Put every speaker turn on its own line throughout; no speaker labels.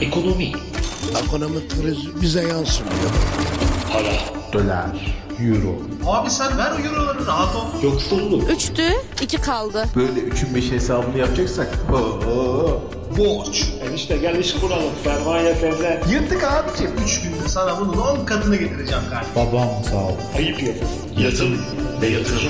Ekonomi,
Ekonomik kriz bize yansımıyor.
para,
dolar, euro.
Abi sen ver o euroları rahat ol.
yoksulluk,
Üçtü, iki kaldı.
Böyle üçün beş hesabını yapacaksak. Oo.
Borç.
enişte gel iş kuralım, sermaye sende,
Yırtık abicim.
3 günde sana bunun 10 katını getireceğim kardeşim.
Babam sağ ol.
ayıp yapın, yatın ve yatırın.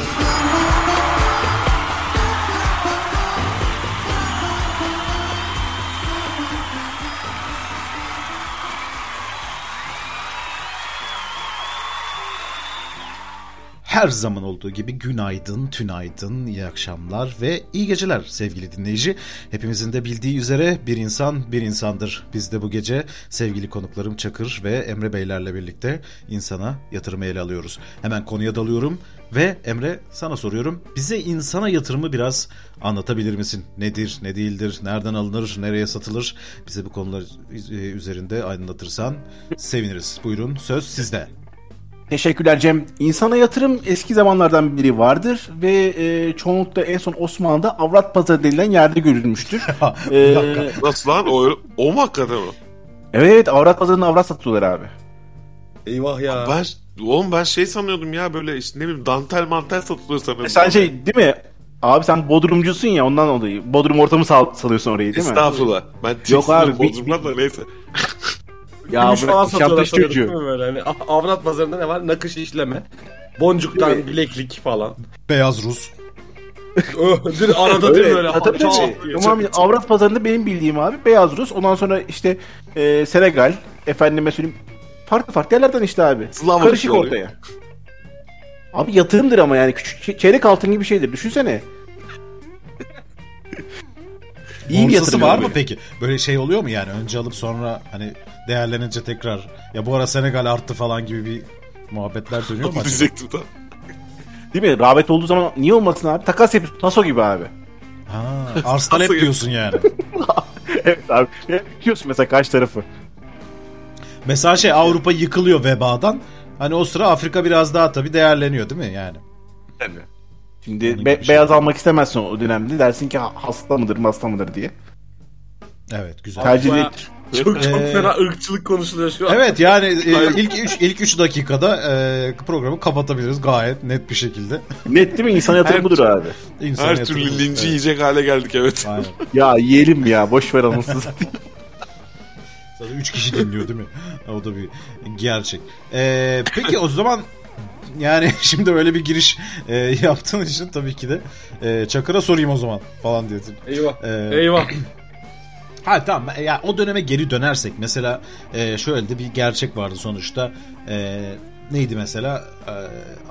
Her zaman olduğu gibi günaydın, tünaydın, iyi akşamlar ve iyi geceler sevgili dinleyici. Hepimizin de bildiği üzere bir insan bir insandır. Biz de bu gece sevgili konuklarım Çakır ve Emre Beylerle birlikte insana yatırımı ele alıyoruz. Hemen konuya dalıyorum ve Emre sana soruyorum. Bize insana yatırımı biraz anlatabilir misin? Nedir, ne değildir, nereden alınır, nereye satılır? Bize bu konular e, üzerinde aydınlatırsan seviniriz. Buyurun söz sizde.
Teşekkürler Cem. İnsana yatırım eski zamanlardan biri vardır ve e, çoğunlukla en son Osmanlı'da avrat pazarı denilen yerde görülmüştür. Ee,
Nasıl lan? O, o mu hakikaten o?
evet avrat pazarında avrat satıyorlar abi.
Eyvah ya.
Ben, oğlum ben şey sanıyordum ya böyle işte ne bileyim dantel mantel satılıyor sanıyordum.
E, sen şey değil mi? Abi sen Bodrumcusun ya ondan dolayı. Bodrum ortamı sal- salıyorsun orayı değil mi?
Estağfurullah. Ben
Yok abi, bir-
Bozumdan da neyse.
Ya
Gümüş falan
bırak
satıyorlar
şaptaş
sanıyorduk
çocuğu.
değil mi böyle? Hani a- avrat pazarında ne var? Nakış işleme. Boncuktan bileklik falan.
Beyaz Rus.
Dur arada değil mi böyle?
Ha, tabii
Çat
tabii.
diye.
Tamam, avrat pazarında benim bildiğim abi Beyaz Rus. Ondan sonra işte e, Senegal. Efendime söyleyeyim. Farklı farklı yerlerden işte abi.
Slav
Karışık
oluyor.
ortaya. Abi yatırımdır ama yani küçük çe- çeyrek altın gibi bir şeydir. Düşünsene.
İyi
yatırım
var
abi.
mı peki? Böyle şey oluyor mu yani? Önce alıp sonra hani değerlenince tekrar ya bu ara Senegal arttı falan gibi bir muhabbetler dönüyor mu? acaba?
Diyecektim tam.
Değil mi? Rağbet olduğu zaman niye olmasın abi? Takas yapıyorsun. Taso gibi abi.
ha, arz talep diyorsun yani.
evet abi. Diyorsun mesela karşı tarafı.
Mesela şey Avrupa yıkılıyor vebadan. Hani o sıra Afrika biraz daha tabii değerleniyor değil mi yani?
Şimdi
gibi
be-
bir şey.
beyaz almak istemezsin o dönemde. Dersin ki "Ha- hasta mıdır hasta mıdır diye.
Evet güzel.
Tercih
bayağı-
edilir.
Çok çok
Ee,
fena ırkçılık konuşuluyor şu an.
Evet yani e, ilk 3 ilk 3 dakikada e, programı kapatabiliriz gayet net bir şekilde.
Net değil mi? İnsan yatırım budur abi.
İnsana
Her türlü
yatırımı-
linci yiyecek hale geldik evet.
Aynen.
Ya yiyelim ya. Boş ver anasını satayım.
Zaten 3 kişi dinliyor değil mi? O da bir gerçek. Ee, peki o zaman yani şimdi öyle bir giriş e, yaptığın için tabii ki de e, Çakır'a sorayım o zaman falan diye.
Eyvah.
Ee,
Eyvah.
Ha tamam ya o döneme geri dönersek mesela e, şöyle de bir gerçek vardı sonuçta. E, neydi mesela? E,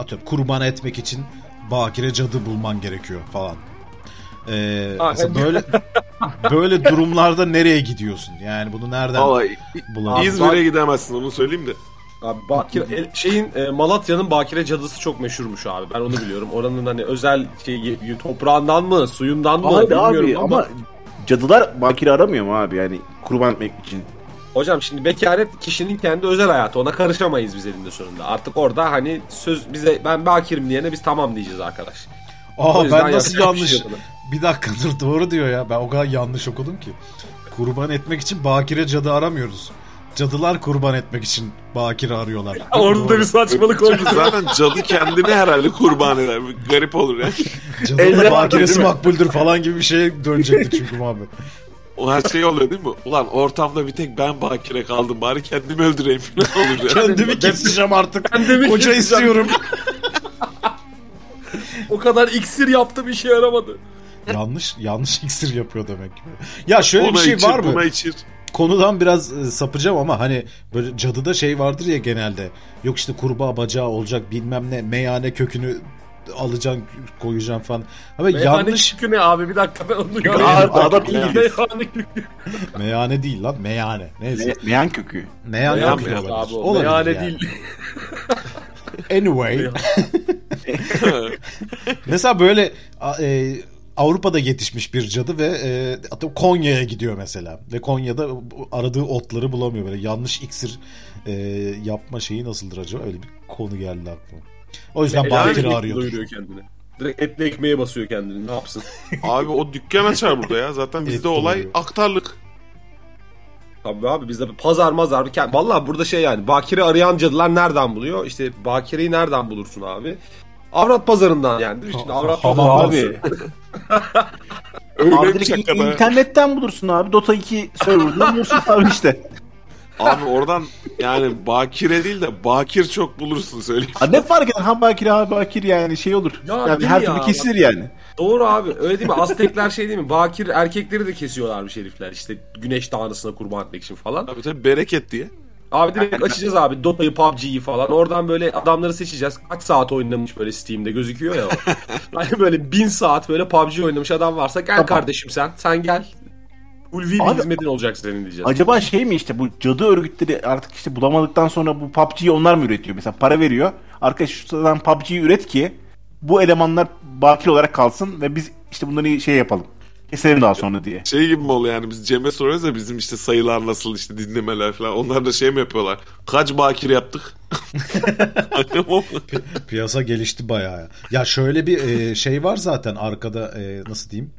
atıyorum kurban etmek için bakire cadı bulman gerekiyor falan. E,
Ah,
mesela
evet.
böyle böyle durumlarda nereye gidiyorsun? Yani bunu nereden
Vallahi
bulabilirsin?
İzmir'e gidemezsin onu söyleyeyim de.
Abi bakire, el- şeyin e, Malatya'nın bakire cadısı çok meşhurmuş abi. Ben onu biliyorum. Oranın hani özel şey, y- toprağından mı, suyundan mı
Abi
bilmiyorum
abi ama cadılar bakire aramıyor mu abi yani kurban etmek için?
Hocam şimdi bekaret kişinin kendi özel hayatı. Ona karışamayız biz elinde sonunda. Artık orada hani söz bize ben bakirim diyene biz tamam diyeceğiz arkadaş. O
Aa
yüzden
ben nasıl
yapacak bir
yanlış?
şey yok.
bir dakika dur doğru diyor ya. Ben o kadar yanlış okudum ki. Kurban etmek için bakire cadı aramıyoruz. Cadılar kurban etmek için Bakir'i arıyorlar.
Orada da bir saçmalık oldu.
Zaten cadı kendini herhalde kurban eder. Garip olur ya.
Cadılar Bakir'esi makbuldür falan gibi bir şeye dönecekti çünkü muhabbet.
O her şey oluyor değil mi? Ulan ortamda bir tek ben bakire kaldım bari kendimi öldüreyim falan olur ya.
Kendimi keseceğim artık.
Kendimi
Koca
keseceğim.
istiyorum.
o kadar iksir şey yaptım işe yaramadı.
yanlış yanlış iksir yapıyor demek ki. Ya şöyle
Ona
bir şey
içir,
var mı?
Buna içir.
konudan biraz e, sapacağım ama hani böyle cadıda şey vardır ya genelde. Yok işte kurbağa bacağı olacak bilmem ne meyhane kökünü alacaksın koyacaksın falan. Ama
Meyhane
yanlış
kükü ne abi bir dakika ben onu
Kükü ne? Adam
değil.
iyi.
Meyhane kükü.
meyhane değil lan meyhane. Neyse.
Me- meyan kökü.
meyhane
Meyhane
kökü
yok abi
olabilir.
o.
Olabilir
Meyhane
yani.
değil.
Anyway. mesela böyle a- e, Avrupa'da yetişmiş bir cadı ve e, atıyorum Konya'ya gidiyor mesela. Ve Konya'da bu- aradığı otları bulamıyor. Böyle yanlış iksir e, yapma şeyi nasıldır acaba? Öyle bir konu geldi aklıma. O yüzden Bakir'i
Ekmek
arıyordur.
doyuruyor kendini. Direkt etli ekmeğe basıyor kendini. Ne yapsın?
Abi o dükkan açar burada ya. Zaten
Evet,
bizde
doğru.
olay aktarlık.
Tabii abi bizde pazar mazar. bir ke- Vallahi burada şey yani bakire arayan cadılar nereden buluyor? İşte bakireyi nereden bulursun abi? Avrat pazarından yani. Şimdi avrat pazarı
abi.
Öyle
Abi
bir
direkt
şaka
in-
be.
internetten bulursun abi. Dota 2 server'dan bulursun abi işte.
Abi oradan yani bakire değil de bakir çok bulursun söyleyeyim.
Ha, ne fark eder? Ha bakir ha bakir yani şey olur.
Ya
yani
değil
her
ya.
türlü kesilir yani.
Doğru abi öyle değil mi? Aztekler şey değil mi? Bakir erkekleri de kesiyorlarmış herifler işte güneş tanrısına kurban etmek için falan.
Tabii tabii bereket diye.
Abi direkt açacağız abi Dota'yı PUBG'yi falan oradan böyle adamları seçeceğiz. Kaç saat oynamış böyle Steam'de gözüküyor ya. o. hani böyle bin saat böyle PUBG oynamış adam varsa gel kardeşim sen sen gel. Ulvi bir
Abi-
hizmetin olacak senin diyeceğiz.
Acaba şey mi işte bu cadı örgütleri artık işte bulamadıktan sonra bu PUBG'yi onlar mı üretiyor? Mesela para veriyor. Arkadaş şuradan PUBG'yi üret ki bu elemanlar bakir olarak kalsın ve biz işte bunları şey yapalım. Keselim daha sonra diye.
Şey gibi mi oluyor yani biz Cem'e soruyoruz ya bizim işte sayılar nasıl işte dinlemeler falan. Onlar da şey mi yapıyorlar? Kaç bakir yaptık? Annem o-
Piyasa gelişti bayağı. ya. Ya şöyle bir e, şey var zaten arkada e, nasıl diyeyim?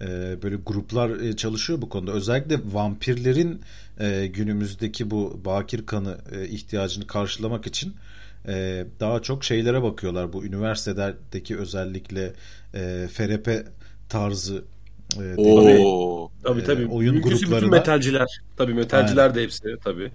E, böyle gruplar e, çalışıyor bu konuda. Özellikle vampirlerin e, günümüzdeki bu bakir kanı e, ihtiyacını karşılamak için e, daha çok şeylere bakıyorlar. Bu üniversitelerdeki özellikle e, FRP tarzı e, denilen,
Oo.
tabii tabii.
e, oyun
Mümkünse bütün
gruplarına-
metalciler. Tabii metalciler de hepsi tabii.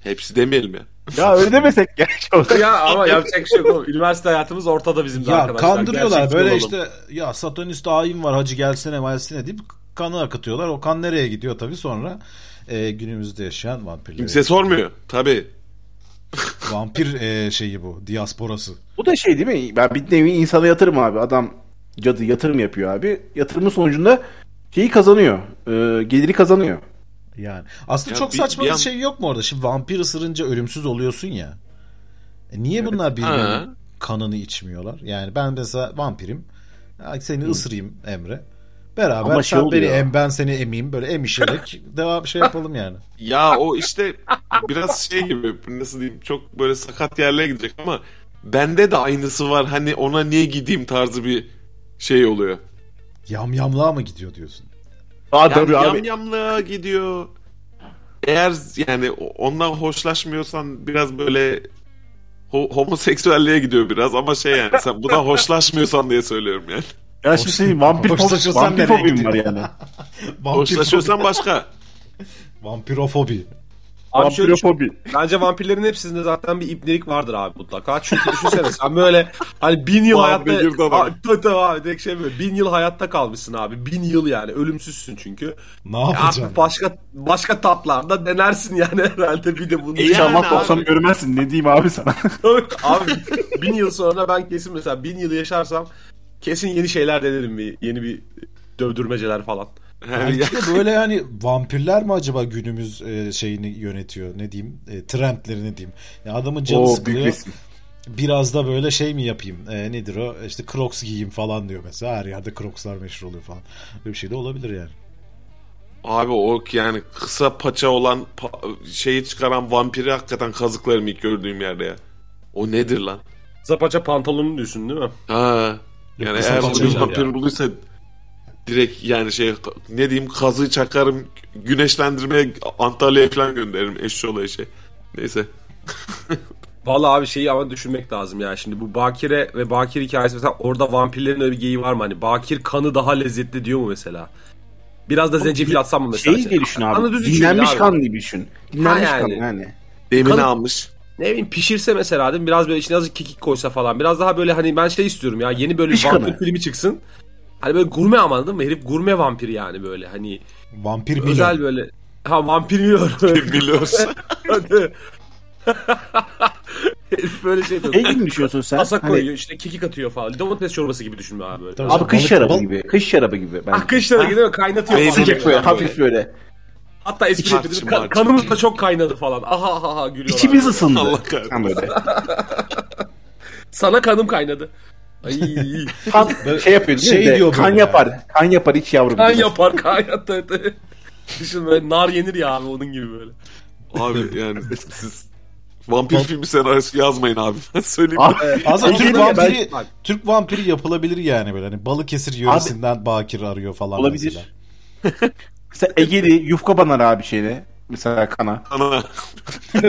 Hepsi demeyelim ya.
Ya öyle demesek ya. Şey olsa-
ya ama yapacak bir şey yok. oğlum. Üniversite hayatımız ortada bizim de
ya
arkadaşlar.
kandırıyorlar
Gerçekçi
böyle
olalım.
işte ya satanist hain var hacı gelsene gelsene deyip kanı akıtıyorlar. O kan nereye gidiyor tabii sonra e, günümüzde yaşayan vampirler.
Kimse sormuyor. Tabii.
Vampir e, şeyi bu. Diasporası.
Bu da şey değil mi? Ben bir nevi insana yatırım abi. Adam cadı yatırım yapıyor abi. Yatırımın sonucunda şeyi kazanıyor. Ee, geliri kazanıyor.
Yani. Aslında
Ya
çok
bir-
saçma bir,
bir an-
şey yok mu orada? Şimdi vampir ısırınca ölümsüz oluyorsun ya. E, niye bunlar
Ha.
birbirinin kanını içmiyorlar? Yani ben mesela vampirim. Ya Seni ısırayım Emre. Beraber
Ama şey
sen beni
oluyor.
em, ben seni emeyim böyle emişerek devam şey yapalım yani.
Ya o işte biraz şey gibi nasıl diyeyim çok böyle sakat yerlere gidecek ama bende de aynısı var. Hani ona niye gideyim tarzı bir şey oluyor.
Yamyamlığa mı gidiyor diyorsun?
Aa,
Yani
tabii abi.
yam yamlığa gidiyor. Eğer yani o- ondan hoşlaşmıyorsan biraz böyle ho- homoseksüelliğe gidiyor biraz ama şey yani sen buna hoşlaşmıyorsan diye söylüyorum yani.
Ya şimdi senin şey, vampir pop,
Hoşlaşırsan
vampir
nereye
fobin var
gidiyor?
yani.
Vampir
Hoşlaşıyorsan başka.
Vampirofobi.
Abi şöyle düşün-
Vampirofobi.
Bence vampirlerin hepsinde zaten bir ibnelik vardır abi mutlaka. Çünkü düşünsene sen böyle hani bin yıl
Abi
hayatta...
girdi adam.
Abi, tabii tabii abi direkt şey böyle bin yıl hayatta kalmışsın abi. Bin yıl yani ölümsüzsün çünkü.
Ne
Artık
yapacaksın?
başka başka tatlarda denersin yani herhalde bir de bunu.
E ya-
İnşallah
Yani
90
abi.
görmezsin. Ne diyeyim abi sana?
abi bin yıl sonra ben kesin mesela bin yıl yaşarsam kesin yeni şeyler denerim bir yeni bir dövdürmeceler falan.
Yani
Belki de böyle yani vampirler mi acaba günümüz e, şeyini yönetiyor ne diyeyim e, trendlerini diyeyim. Ya adamın canı
Oo, büyük
sıkılıyor.
resim.
Biraz da böyle şey mi yapayım e, nedir o işte crocs giyeyim falan diyor mesela her yerde crocslar meşhur oluyor falan. Böyle bir şey de olabilir yani.
Abi o yani kısa paça olan pa- şeyi çıkaran vampiri hakikaten kazıklarım ilk gördüğüm yerde ya. O nedir lan?
Zapaça pantolonunu düşün değil mi?
Ha. Yani
kısa
eğer
paça
bir
değil
vampir bulduysa direkt yani şey ne diyeyim kazı çakarım güneşlendirmeye Antalya'ya falan gönderirim eşşoğlu eşe. Neyse.
Vallahi abi şeyi ama düşünmek lazım ya. Şimdi bu Bakire ve Bakir hikayesi mesela orada vampirlerin öyle bir geyiği var mı? Hani Bakir kanı daha lezzetli diyor mu mesela? Biraz da zencefil atsam mı mesela?
Şeyi Şey diye düşün
Kanı
abi.
düz için
Dinlenmiş
abi.
kan diye düşün. Dinlenmiş
Ha
kan
yani.
yani.
Demini
Kalın-
almış.
Ne bileyim pişirse mesela değil mi? Biraz böyle içine azıcık kekik koysa falan. Biraz daha böyle hani ben şey istiyorum ya. Yeni böyle
Kış
vampir
kanı.
filmi çıksın. Hani böyle gurme ama anladın mı? Herif gurme vampir yani böyle. Hani
Vampir milyon.
özel böyle. Ha vampir yiyor.
Biliyorsun.
Herif böyle şey yapıyor.
Ne gibi düşünüyorsun sen?
Pasak
Hani-
koyuyor işte kekik atıyor falan. Domates çorbası gibi düşünme abi böyle.
Tabii
Abi
canım,
kış
balık-
şarabı
balık-
gibi. Kış şarabı gibi. Ben.
Ah kışlara gidiyor kaynatıyor.
Beyni
falan.
Sıcak böyle hafif böyle.
Hatta espri
İçim
yapıyordu.
acım,
Ka- kanımız da çok kaynadı falan. Aha aha aha gülüyorlar.
İçimiz ısındı.
Allah kahretsin.
Tam böyle.
Sana kanım kaynadı. Ay,
Kan şey yapıyor değil
Şey
mi? De,
diyor
kan
böyle
yapar. Kan yapar iç yavrum.
kan
diyor.
yapar kaynattı. Düşün böyle nar yenir ya abi onun gibi böyle.
abi yani siz vampir filmi senaryosu yazmayın abi. Ben söyleyeyim.
Abi,
Aslında Türk
Anladım ya,
vampiri,
ben-
Türk vampiri yapılabilir yani böyle. Hani Balıkesir yöresinden Bakir arıyor falan. mesela.
olabilir. Mesela Egeli yufka banar abi şeyle. Mesela kana.
Ana.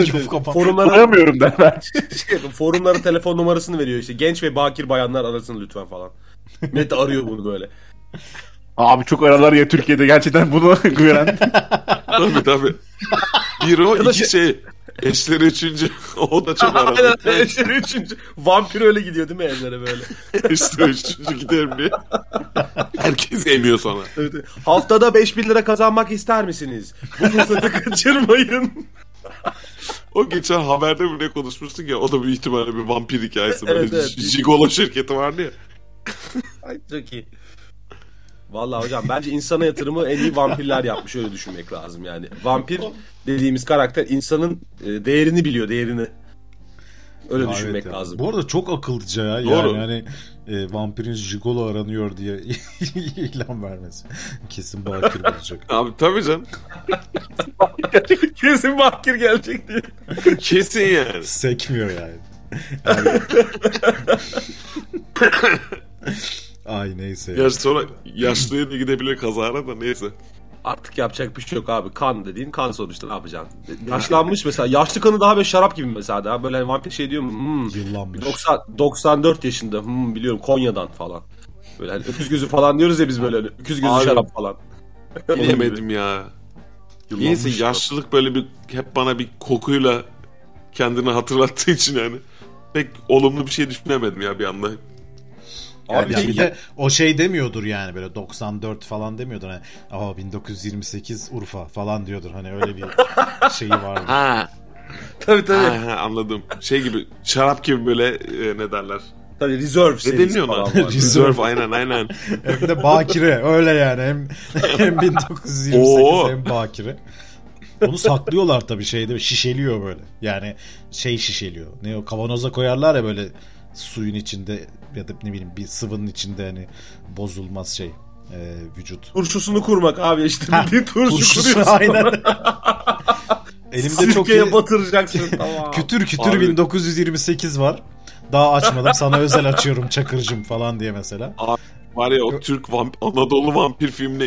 Çok kafa-
Forumlara,
Banamıyorum der ben.
şey, forumlara telefon numarasını veriyor işte. Genç ve bakir bayanlar arasın lütfen falan. Millet de arıyor bunu böyle.
Abi çok aralar ya Türkiye'de gerçekten bunu gören.
tabii tabii. Bir o
da
iki şey. Eşleri üçüncü. o da çok
Aynen
aradı.
aynen. Üçüncü- üçüncü. Vampir öyle gidiyor değil mi evlere böyle?
Eşleri üçüncü gider bir. Herkes emiyor sonra.
Evet, evet. Haftada 5000 lira kazanmak ister misiniz? Bu fırsatı kaçırmayın.
O geçen haberde mi ne konuşmuştuk ya o da büyük ihtimalle bir vampir hikayesi. Böyle
Evet, evet.
Jigolo şirketi vardı ya.
Ay çok iyi. Vallahi hocam bence insana yatırımı en iyi vampirler yapmış öyle düşünmek lazım yani. Vampir dediğimiz karakter insanın e, değerini biliyor değerini. Öyle
Evet
düşünmek
ya.
lazım.
Bu arada çok akıllıca ya.
Doğru.
Yani hani e, vampirin jigolo aranıyor diye ilan vermesi. Kesin Bakir bulacak.
Abi tabii canım.
Kesin vampir gelecek diye.
Kesin yani.
Sekmiyor yani. Ay neyse.
Ya sonra yaşlıya da gidebilir kazara da neyse.
Artık yapacak bir şey yok abi. Kan dediğin kan sonuçta ne yapacaksın? Yaşlanmış mesela. Yaşlı kanı daha böyle şarap gibi mesela. Daha böyle hani vampir şey diyor mu? Hmm,
Yıllanmış.
90, 94 yaşında. Hmm, biliyorum Konya'dan falan. Böyle hani öküz gözü falan diyoruz ya biz böyle. Hani, öküz gözü
Abi.
şarap falan.
Bilemedim ya. Neyse yaşlılık böyle bir hep bana bir kokuyla kendini hatırlattığı için yani. Pek olumlu bir şey düşünemedim ya bir anda.
Yani
Abi
bir de o şey demiyordur yani böyle 94 falan demiyordur. Hani, Aa 1928 Urfa falan diyordur. Hani öyle bir şeyi vardır.
Ha.
tabii tabii.
ha, ha, anladım. Şey gibi şarap gibi böyle e, ne derler.
Tabii reserve
Ne
serisi
deniliyor ona?
falan var.
Reserve aynen aynen.
Hem de bakire öyle yani hem, hem 1928
Oo.
hem bakire. Onu saklıyorlar tabii şeyde şişeliyor böyle. Yani şey şişeliyor. Ne o kavanoza koyarlar ya böyle suyun içinde ya da ne bileyim bir sıvının içinde hani bozulmaz şey e, vücut.
Turşusunu kurmak abi işte bildiğin turşu
Turşusu
kuruyorsun.
aynen. Elimde çok
Sirkeye
iyi-
batıracaksın tamam.
kütür kütür
Abi.
1928 var. Daha açmadım sana özel açıyorum çakırcım falan diye mesela.
Var ya o Türk vamp Anadolu vampir filmine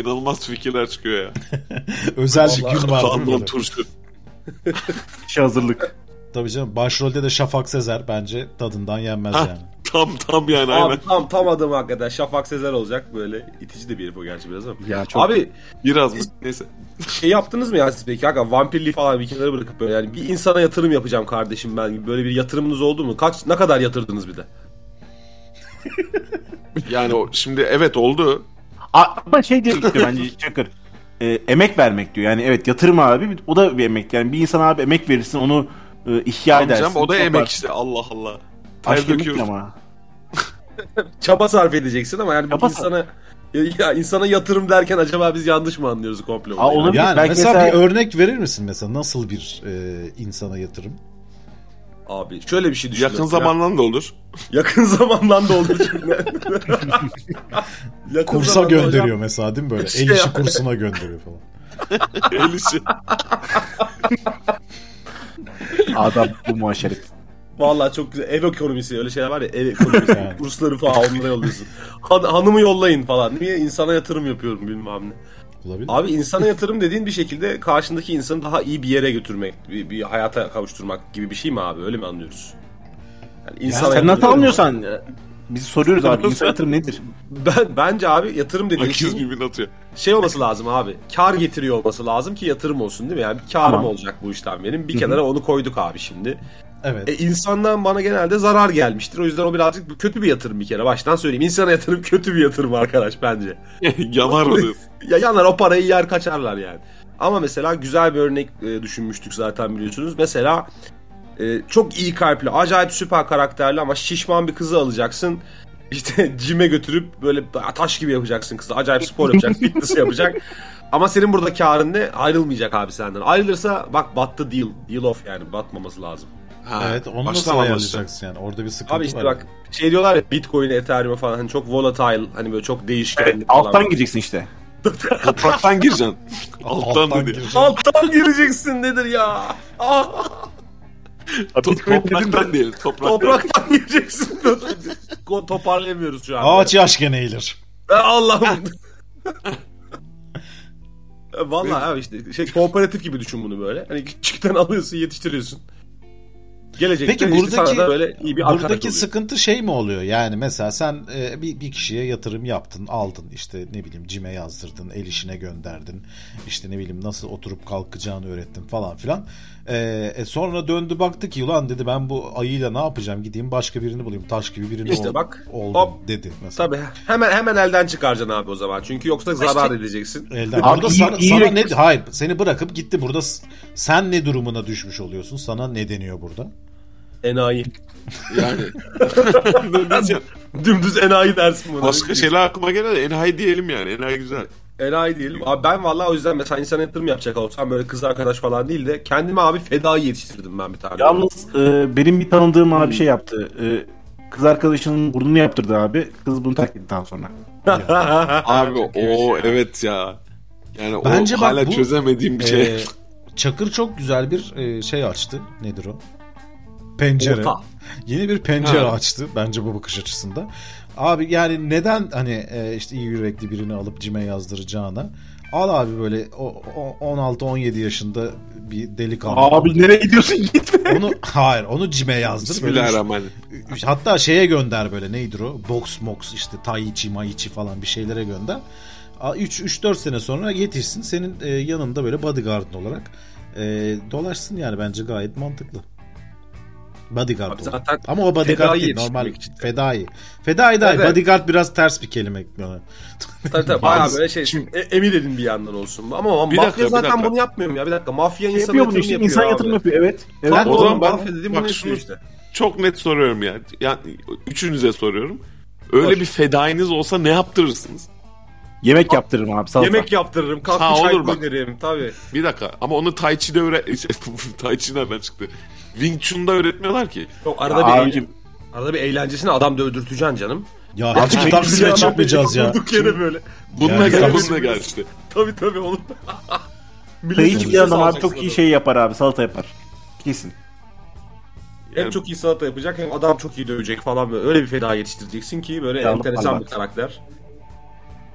inanılmaz fikirler çıkıyor ya.
Özel bir gün var. değil mi
Kandon
böyle?
turşu.
Kişi hazırlık.
Tabii canım. Başrolde de Şafak Sezer bence tadından yenmez
Ha.
yani.
Tam tam yani
Abi
aynen.
tam tam adam hakikaten. Şafak Sezer olacak böyle. itici de bir herif o gerçi biraz ama.
Ya çok-
Abi
Biraz mı? Neyse.
şey yaptınız mı ya siz peki? Hakikaten vampirliği falan bir kenara bırakıp böyle yani bir insana yatırım yapacağım kardeşim ben gibi. Böyle bir yatırımınız oldu mu? Kaç ne kadar yatırdınız bir de?
Yani o, şimdi evet oldu.
A- Ama şey diyor işte bence Çakır. e, emek vermek diyor. Yani evet yatırım abi o da bir emek. Yani bir insan abi emek verirsin onu e, ihya edersin.
Amcam o da
toplar.
emek işte Allah Allah. Ter
Aşk emek değil
döküyoruz.
ama.
Çaba sarf edeceksin ama yani
Çaba
bir insana ya insana yatırım derken acaba biz yanlış mı anlıyoruz komple
Aa,
olayı?
olabilir.
Yani
Belki
mesela,
mesela-
bir örnek verir misin mesela nasıl bir e, insana yatırım?
Abi şöyle bir şey düşün.
Yakın
mesela.
zamandan da olur.
Yakın zamandan da olduğu için. Yakın
Kursa
zamanda
gönderiyor
hocam.
mesela değil mi böyle?
Şey
El işi
yani.
kursuna gönderiyor falan.
El işi.
Adam bu muhaşeret.
Vallahi çok güzel. Ev ekonomisi öyle şeyler var ya ev ekonomisi.
Yani.
Kursları falan onlara yolluyorsun. Han- hanımı yollayın falan. Niye insana yatırım yapıyorum bilmem ne.
Olabilir.
Abi insana yatırım dediğin bir şekilde karşındaki insanı daha iyi bir yere götürmek, bir, bir hayata kavuşturmak gibi bir şey mi abi? Öyle mi anlıyoruz? Yani insana
Sen
yatırım-
nasıl anlıyorsan e, biz soruyoruz abi insan yatırım nedir?
Ben, bence abi yatırım dediğin
Herkes
şey,
birbirini atıyor.
şey olması lazım abi. Kar getiriyor olması lazım ki yatırım olsun değil mi? Yani bir karım
Tamam.
olacak bu işten benim. Bir kenara onu koyduk abi şimdi.
Evet.
E, insandan bana genelde zarar gelmiştir. O yüzden o birazcık kötü bir yatırım bir kere. Baştan söyleyeyim. İnsana yatırım kötü bir yatırım arkadaş bence.
Yanar mı diyorsun?
Ya yanar o parayı yer kaçarlar yani. Ama mesela güzel bir örnek e, düşünmüştük zaten biliyorsunuz. Mesela e, çok iyi kalpli, acayip süper karakterli ama şişman bir kızı alacaksın. İşte cime götürüp böyle taş gibi yapacaksın kızı. Acayip spor yapacak, fitness yapacak. Ama senin burada karın ne? Ayrılmayacak abi senden. Ayrılırsa bak battı deal. Deal off yani batmaması lazım.
Ha,
evet onu nasıl
baştan anlaşıldı.
ayarlayacaksın yani? Orada bir sıkıntı
Abi işte
var.
bak şey diyorlar ya Bitcoin, Ethereum falan hani çok volatile hani böyle çok değişkenli
Evet,
falan.
alttan gideceksin işte.
Topraktan gireceksin. Alttan,
Alttan
dedi.
gireceksin.
Alttan gireceksin nedir ya? Ah,
To- topraktan değil. Topraktan.
topraktan gireceksin. Ko- Toparlayamıyoruz şu an.
Ağaç yaş gene eğilir.
Ya Allah'ım. E, Vallahi abi işte şey kooperatif gibi düşün bunu böyle. Hani küçükten alıyorsun, yetiştiriyorsun. Gelecekte
Peki
işte sana
buradaki
da böyle iyi bir arkadaş
buradaki
oluyor.
sıkıntı şey mi oluyor? Yani mesela sen e, bir, bir kişiye yatırım yaptın, aldın işte ne bileyim cime yazdırdın, el işine gönderdin. işte ne bileyim nasıl oturup kalkacağını öğrettin falan filan. E, e, sonra döndü baktı ki ulan dedi ben bu ayıyla ne yapacağım? Gideyim başka birini bulayım. Taş gibi birini
İşte
ol-
bak,
oldum
hop.
dedi mesela.
Tabii hemen hemen elden çıkaracaksın abi o zaman. Çünkü yoksa zarar edeceksin.
Elden.
Abi
burada
iyi-
sana,
iyi
sana ne
reklam-
hayır seni bırakıp gitti burada s- sen ne durumuna düşmüş oluyorsun? Sana ne deniyor burada?
Enayi.
Yani. Ne diyeceğim?
Dümdüz enayi dersin buna. şey
Başka şeyler aklıma geldi. Enayi diyelim yani. Enayi güzel.
Enayi değilim. Abi ben vallahi o yüzden mesela insana yatırım yapacak olsam böyle kız arkadaş falan değil de kendime abi fedayı yetiştirdim ben bir tane.
Yalnız e, benim bir tanıdığım abi şey yaptı. E, kız arkadaşının burnunu yaptırdı abi. Kız bunu terk ettikten sonra.
Abi o evet şey ya. Yani
Bence
o
bak
hala
bu-
çözemediğim bir şey.
Ee, Çakır çok güzel bir e, şey açtı. Nedir o? Pencere.
Orta.
Yeni bir pencere
Ha.
açtı bence bu bakış açısında. Abi yani neden hani e, işte iyi yürekli birini alıp cime yazdıracağına al abi böyle o- o- 16-17 yaşında bir delikanlı.
Abi nereye gidiyorsun gitme.
Onu hayır onu cime yazdır. Böyle şey üç-
Bismillahirrahmanirrahim.
üç- hatta şeye gönder böyle nedir o? Box mox işte tai chi mai chi falan bir şeylere gönder. 3 3 4 sene sonra yetişsin senin e, yanında böyle bodyguardın olarak e, dolaşsın yani bence gayet mantıklı. Bodyguard
Abi
olur.
zaten
Ama o bodyguard
fedai
değil normal
yetiştirmek için.
fedai. Fedai değil
Evet.
bodyguard biraz ters bir kelime. Yani.
Tabii tabii bayağı böyle şey e, emir edin bir yandan olsun. Ama, ama
Bir
mafya
dakika, Şey bir
zaten
dakatım.
bunu yapmıyor mu ya bir dakika. Mafya insana
Yapıyor bunu
yatırım
işte.
yapıyor
İnsan
abi.
yatırım yapıyor evet. evet.
Tamam,
o zaman
Mafya
ben
dediğim
bak
bunu
şunu
yapıyor işte.
çok net soruyorum ya. Yani üçünüze soruyorum. Öyle bir fedainiz olsa ne yaptırırsınız?
Yemek yaptırırım abi salata.
Yemek yaptırırım,
Ha,
kahve çay
olur bak.
koyarım tabii.
Bir dakika ama onu Tai Chi'de öğret... tai Chi nereden çıktı? Wing Chun'da öğretmiyorlar ki.
Yok arada bir
Abicim
arada bir eğlencesini adam dövdürteceksin canım.
Ya hiç kitap
Dövdürteceksin
bile
adam,
çıkmayacağız ya.
Durduk yere böyle.
Bununla
Yani
gel,
sen-
bununla gel işte.
Tabii tabii oğlum. Millet
kayıcı bir
kimse
adam abi
salacaksın
çok iyi şey yapar abi salata yapar. Kesin.
Hem çok iyi salata yapacak hem adam çok iyi dövecek falan böyle. Öyle bir feda yetiştireceksin ki böyle
Ya,
enteresan
Allah.
bir karakter.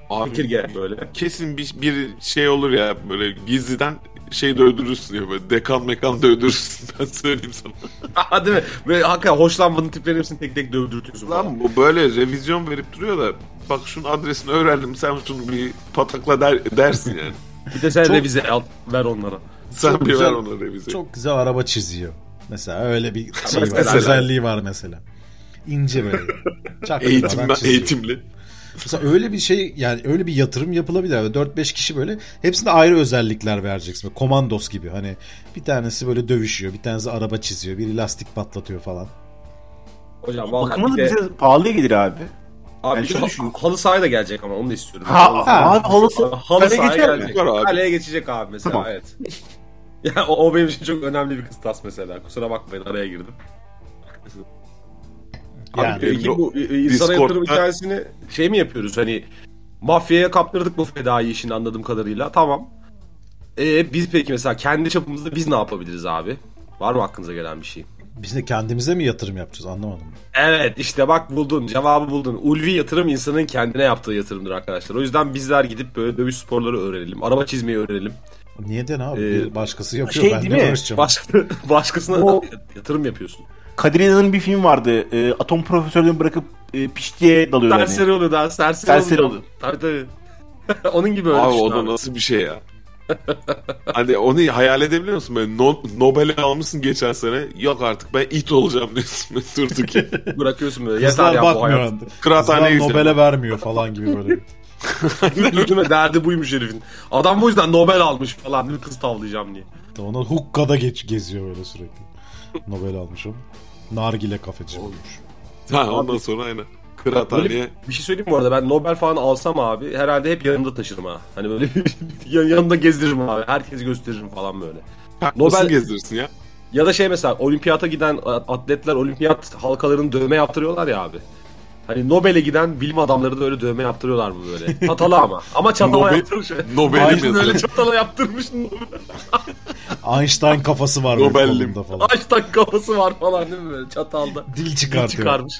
Abi
Fikir gel böyle.
kesin bir, bir şey olur ya böyle gizliden şey de öldürürsün ya böyle dekan mekan da öldürürsün ben söyleyeyim sana.
Değil mi? Ve hakikaten hoşlanmadığın tiplerin hepsini tek tek dövdürtüyorsun. falan.
Lan bu böyle revizyon verip duruyorlar. Bak şunun adresini öğrendim sen şunu bir patakla der, dersin yani.
Bir de sen revize al ver onlara.
Sen bir
güzel-
ver ona revize.
Çok güzel araba çiziyor. Mesela öyle bir şey var,
Mesela.
özelliği var mesela. İnce böyle. Çakıl
Eğitim,
falan çiziyor.
eğitimli.
Mesela öyle bir şey yani öyle bir yatırım yapılabilir. Yani 4-5 kişi böyle hepsine ayrı özellikler vereceksin. Böyle komandos gibi hani bir tanesi böyle dövüşüyor, bir tanesi araba çiziyor, biri lastik patlatıyor falan.
Hocam
Bakımı
vallahi
da
bir de,
bize pahalıya gelir abi.
abi
yani
şu
şöyle
ha-
düşün.
halı sahaya da gelecek ama onu da istiyorum.
Ha, ha, abi halı saha-
halı
kaleye
sahaya
geçer mi?
gelecek.
Var abi.
Kaleye geçecek abi mesela
Tamam.
evet. Ya o, o benim için çok önemli bir kıstas mesela. Kusura bakmayın araya girdim.
Yani
Abi peki bu e, e, insana
Discord'da-
yatırım hikayesini şey mi yapıyoruz hani mafyaya kaptırdık bu fedai işini anladığım kadarıyla tamam. E biz peki mesela kendi çapımızda biz ne yapabiliriz abi? Var mı aklınıza gelen bir şey?
biz de kendimize mi yatırım yapacağız anlamadım.
Evet işte bak buldun cevabı buldun. Ulvi yatırım insanın kendine yaptığı yatırımdır arkadaşlar. O yüzden bizler gidip böyle dövüş sporları öğrenelim. Araba çizmeyi öğrenelim.
Niye de ne abi?
Ee,
Bir başkası yapıyor
şey
ben
değil
ne
mi?
uğraşacağım?
Başka, başkasına
O-
yatırım yapıyorsun.
Kadir İnanır'ın bir film vardı. E, atom profesörlüğünü bırakıp e, piçliğe dalıyor. yani.
Serseri oluyor daha serseri,
Serseri
oluyor. Tabii tabii. Onun gibi öyle
Abi
düşün
o da
abi.
nasıl bir şey ya? hani onu hayal edebiliyor musun? Böyle no, Nobel'i almışsın geçen sene. Yok artık ben it olacağım diyorsun. Böyle Durduk ki.
Bırakıyorsun böyle. Yeter
Kızlar
ya bu hayat.
bakmıyor.
Kıraathaneye
Kızlar
gidiyor.
Nobel'e vermiyor falan gibi böyle.
Değil mi? Derdi buymuş herifin. Adam bu yüzden Nobel almış falan. Bir kız tavlayacağım diye.
Ona hukkada geç, geziyor böyle sürekli. Nobel almışım. Nargile kafeci olmuş.
Ha, ondan sonra aynen. Kıraathaneye.
Bir şey söyleyeyim mi bu arada ben Nobel falan alsam abi herhalde hep yanımda taşırım ha. Hani böyle yan- yanımda gezdiririm abi. Herkesi gösteririm falan böyle.
Nobel
Nobel-
gezdirsin ya.
Ya da şey mesela olimpiyata giden atletler olimpiyat halkalarını dövme yaptırıyorlar ya abi. Hani Nobel'e giden bilim adamları da öyle dövme yaptırıyorlar mı böyle? Çatala ama. Ama çatala
Nobel-
yaptırmış.
Nobel'im
Ayşin
yazıyor.
öyle çatala yaptırmış.
Einstein kafası var böyle
Nobel'lim.
kolunda falan.
Açtak kafası var falan değil mi böyle çatalda.
Dil çıkartıyor.
Çıkarmış.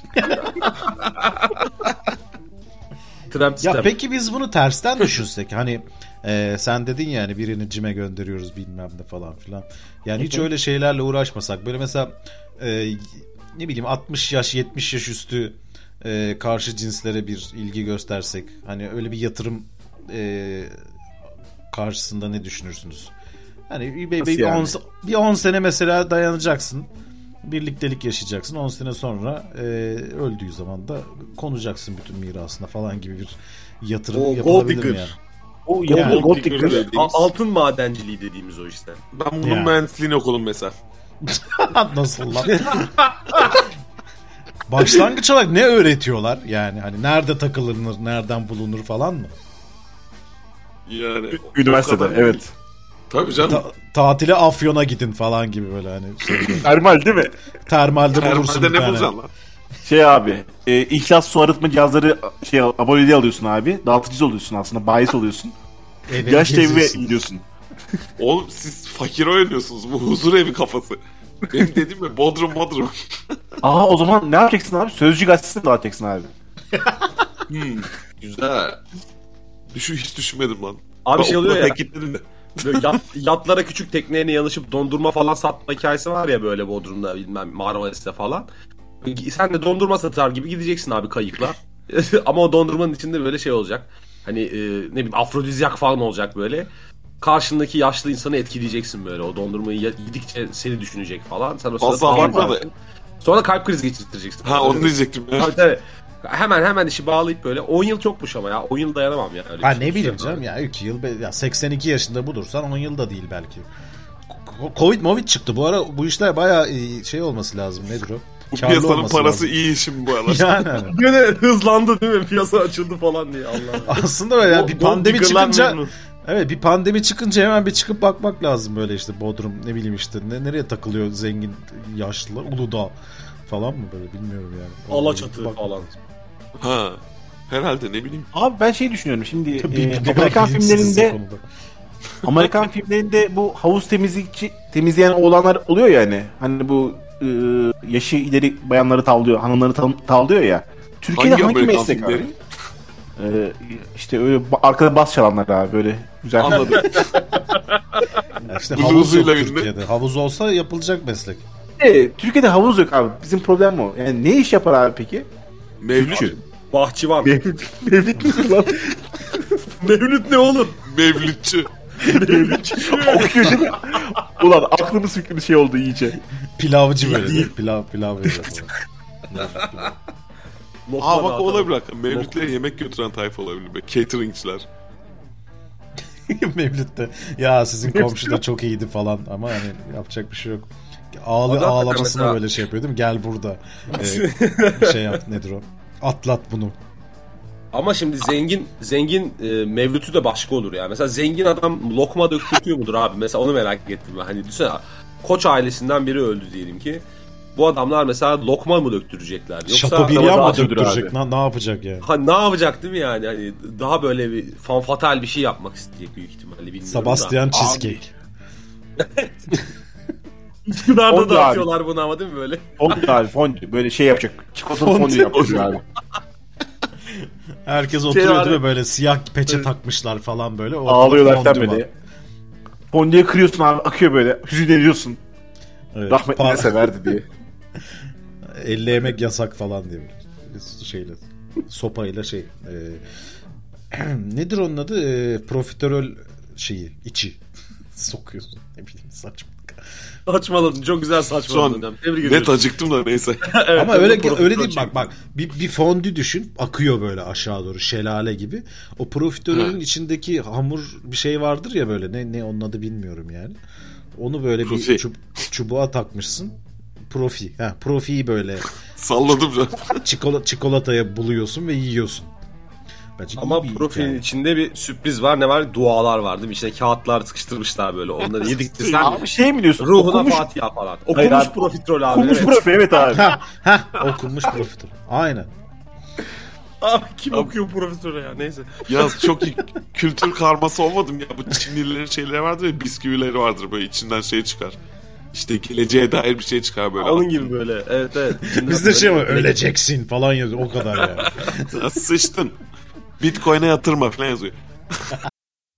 Tramp
Ya
sistem.
peki biz bunu tersten düşünsek hani e, sen dedin ya hani birini cime gönderiyoruz bilmem ne falan filan. Yani hiç öyle şeylerle uğraşmasak böyle mesela e, ne bileyim 60 yaş 70 yaş üstü e, karşı cinslere bir ilgi göstersek hani öyle bir yatırım e, karşısında ne düşünürsünüz? Hani bir, bir,
Nasıl
bir
yani?
10 bir 10 sene mesela dayanacaksın. Birliktelik yaşayacaksın. 10 sene sonra e, öldüğü zaman da konacaksın bütün mirasına falan gibi bir yatırım
O,
yapılabilir mi
gold
yani?
O yani,
Yani.
gold digger.
Dediğimiz-
A- altın madenciliği dediğimiz o işte.
şey Ben
Ya.
bunun mühendisliğini okudum mesela.
Nasıl lan? Başlangıç olarak ne öğretiyorlar? Yani hani nerede takılınır, nereden bulunur falan mı?
Yani. o-
Üniversitede
o kadar-
evet.
Tabii canım.
Ta- tatile Afyon'a gidin falan gibi böyle hani şey,
Termal değil mi?
termalde bulursun
Termalde
bir
ne
tane.
bulacaksın lan?
Şey abi, e, ihlas su arıtma cihazları şey aboneliği alıyorsun abi. Dağıtıcı oluyorsun aslında, bahis oluyorsun.
Eve
Yaş devre
geziyorsun.
gidiyorsun.
Oğlum siz fakir oynuyorsunuz. Bu huzur evi kafası. Benim dediğim ya Bodrum Bodrum.
Aa o zaman ne yapacaksın abi? Sözcü gazetesini dağıtacaksın abi.
Güzel. Düşün hiç düşünmedim lan.
Abi
Ben
şey oluyor
okula
ya.
pek gitmedim de.
Böyle yat- yatlara küçük tekneyle yanışıp dondurma falan satma hikayesi var ya böyle Bodrum'da bilmem Marmaris'te falan. Sen de dondurma satar gibi gideceksin abi kayıkla. Ama o dondurmanın içinde böyle şey olacak. Hani e, ne bileyim afrodizyak falan olacak böyle. Karşındaki yaşlı insanı etkileyeceksin böyle. O dondurmayı ye- yedikçe seni düşünecek falan. Sen o sırada
Fazla
falan
abartma da.
yaparsın. Sonra kalp krizi geçirtireceksin.
Ha onu diyecektim. ya.
Tabii, tabii. Hemen hemen işi bağlayıp böyle 10 yıl çokmuş ama ya 10 yıl dayanamam ya. Öyle
Ha
bir şey.
ne bileyim canım ya 2 yıl be- ya 82 yaşında bulursan 10 yıl da değil belki. Ko- Covid Movid çıktı bu ara bu işler bayağı e, şey olması lazım nedir o?
Bu
Karlı
piyasanın
olması
parası
lazım.
iyi şimdi bu aralar.
Yani hani.
Yine hızlandı değil mi? Piyasa açıldı falan diye Allah'ım.
aslında öyle yani bir
Gold
pandemi
digger'lar
çıkınca
memnun.
evet bir pandemi çıkınca hemen bir çıkıp bakmak lazım böyle işte Bodrum ne bileyim işte ne, nereye takılıyor zengin yaşlı Uludağ falan mı böyle bilmiyorum yani.
Alaçatı
Bak-
falan.
Ha. Herhalde ne bileyim.
Abi ben şey düşünüyorum şimdi
Bir-
e,
bir- bir-
Amerikan
bilimsiziz
filmlerinde
bu konuda.
Amerikan filmlerinde bu havuz temizlikçi temizleyen oğlanlar oluyor ya hani. Hani bu e, yaşı ileri bayanları tavlıyor, hanımları tav- tavlıyor ya. Türkiye'de hangi,
Amerikan
meslek
filmleri?
abi? E, işte öyle ba- arkada bas çalanlar abi böyle güzel.
Anladım.
Ya İşte
Buzu
havuz yok
buzuyla birlikte.
Türkiye'de. Havuz olsa yapılacak meslek.
E, Türkiye'de havuz yok abi. Bizim problem o. Yani ne iş yapar abi peki?
Mevlüt.
Bahçıvan.
Mevlüt mü lan?
Mevlüt ne oğlum?
Mevlütçü.
Okuyor değil mi? Ulan aklımız fikrimiz şey oldu iyice.
Pilavcı böyle değil. mi? Pilav, pilav veriyor.
Lokma
Aa bak
dağıtalım.
olabilir hakikaten. Mevlütlere yemek götüren tayfa olabilir. Be. Cateringçiler.
Mevlüt'te ya sizin komşu da çok iyiydi falan ama hani yapacak bir şey yok. Ağlı
Adam da
ağlamasına
mesela-
böyle şey yapıyor değil mi? Gel burada. Ee, şey yap nedir o? Atlat bunu.
Ama şimdi zengin zengin e, mevlütü de başka olur ya. Mesela zengin adam lokma döktürtüyor mudur abi? Mesela onu merak ettim ben. Hani düşünsene koç ailesinden biri öldü diyelim ki. Bu adamlar mesela lokma mı döktürecekler? Yoksa
Şato bir yan mı
Daha-
döktürecek? Ne, ne yapacak yani?
Ha, ne yapacak değil mi yani? Hani daha böyle bir fanfatal bir şey yapmak isteyecek büyük ihtimalle bilmiyorum da.
Sebastian Cheesecake.
Üsküdar'da
Oldu
da
abi.
atıyorlar bunu ama değil mi böyle?
Fondü abi fondü. Böyle şey yapacak. Çikolatalı fondü yapacak abi.
Herkes oturuyor
abi-
değil mi? Böyle siyah peçe takmışlar falan böyle. Ortada
Ağlıyorlar sen
fondü var.
böyle. Fondüye kırıyorsun abi akıyor böyle. Hüzünleniyorsun.
Evet.
Rahmetli
Pa-
ne severdi diye.
Elle yemek yasak falan diye böyle şeyle sopayla şey e, nedir onun adı E, profiterol şeyi içi sokuyorsun ne bileyim saçmalık
Saçmaladın. Çok güzel
Şu
saçmaladın.
an
Tebrik ediyorum.
net acıktım da neyse.
Evet,
ama öyle
profiterol
öyle değil
çekiyor.
bak bak bir, bir fondü düşün akıyor böyle aşağı doğru şelale gibi o profiterolün içindeki hamur bir şey vardır ya böyle ne ne onun adı bilmiyorum yani onu böyle bir
Profi.
çub- çubuğa takmışsın profi ha profiyi böyle
Salladım canım.
çikolata çikolataya buluyorsun ve yiyorsun. Bence
Ama
iyi bir
profilin
hikaye.
içinde bir sürpriz var. Ne var? Dualar var değil mi? İçine kağıtlar sıkıştırmışlar böyle. Onları yedikçe sen
Abi şey mi diyorsun?
ruhuna
okumuş,
Fatiha falan.
Hayır
Okumuş
abi.
profiterol abi.
okumuş
evet.
profil evet abi.
Ha, ha okunmuş profiterol. Aynen.
Abi kim okuyor profiterol ya? Neyse.
Ya çok iyi kültür karması olmadım ya. Bu Çinlilerin şeyleri vardır ya bisküvileri vardır böyle içinden şey çıkar. İşte geleceğe dair bir şey çıkar böyle.
Onun gibi böyle. Evet evet. İçinde
Bizde
böyle-
şey var öleceksin falan yazıyor o kadar yani.
Sıçtın. Bitcoin'e yatırma falan yazıyor.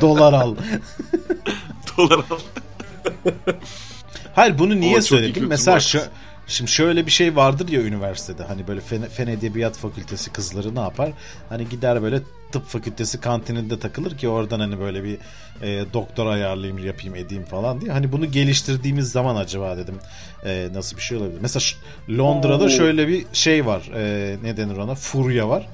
Dolar al.
Dolar al.
Hayır bunu niye
Ama çok iyi
söyledim?
kültür
Mesela
var.
şö- şimdi şöyle bir şey vardır ya üniversitede. Hani böyle fen, Fen edebiyat fakültesi kızları ne yapar? Hani gider böyle tıp fakültesi kantininde takılır ki oradan hani böyle bir e, doktor ayarlayayım yapayım edeyim falan diye. Hani bunu geliştirdiğimiz zaman acaba dedim e, nasıl bir şey olabilir? Mesela ş- Londra'da şöyle bir şey var. E, ne denir ona? Furya var.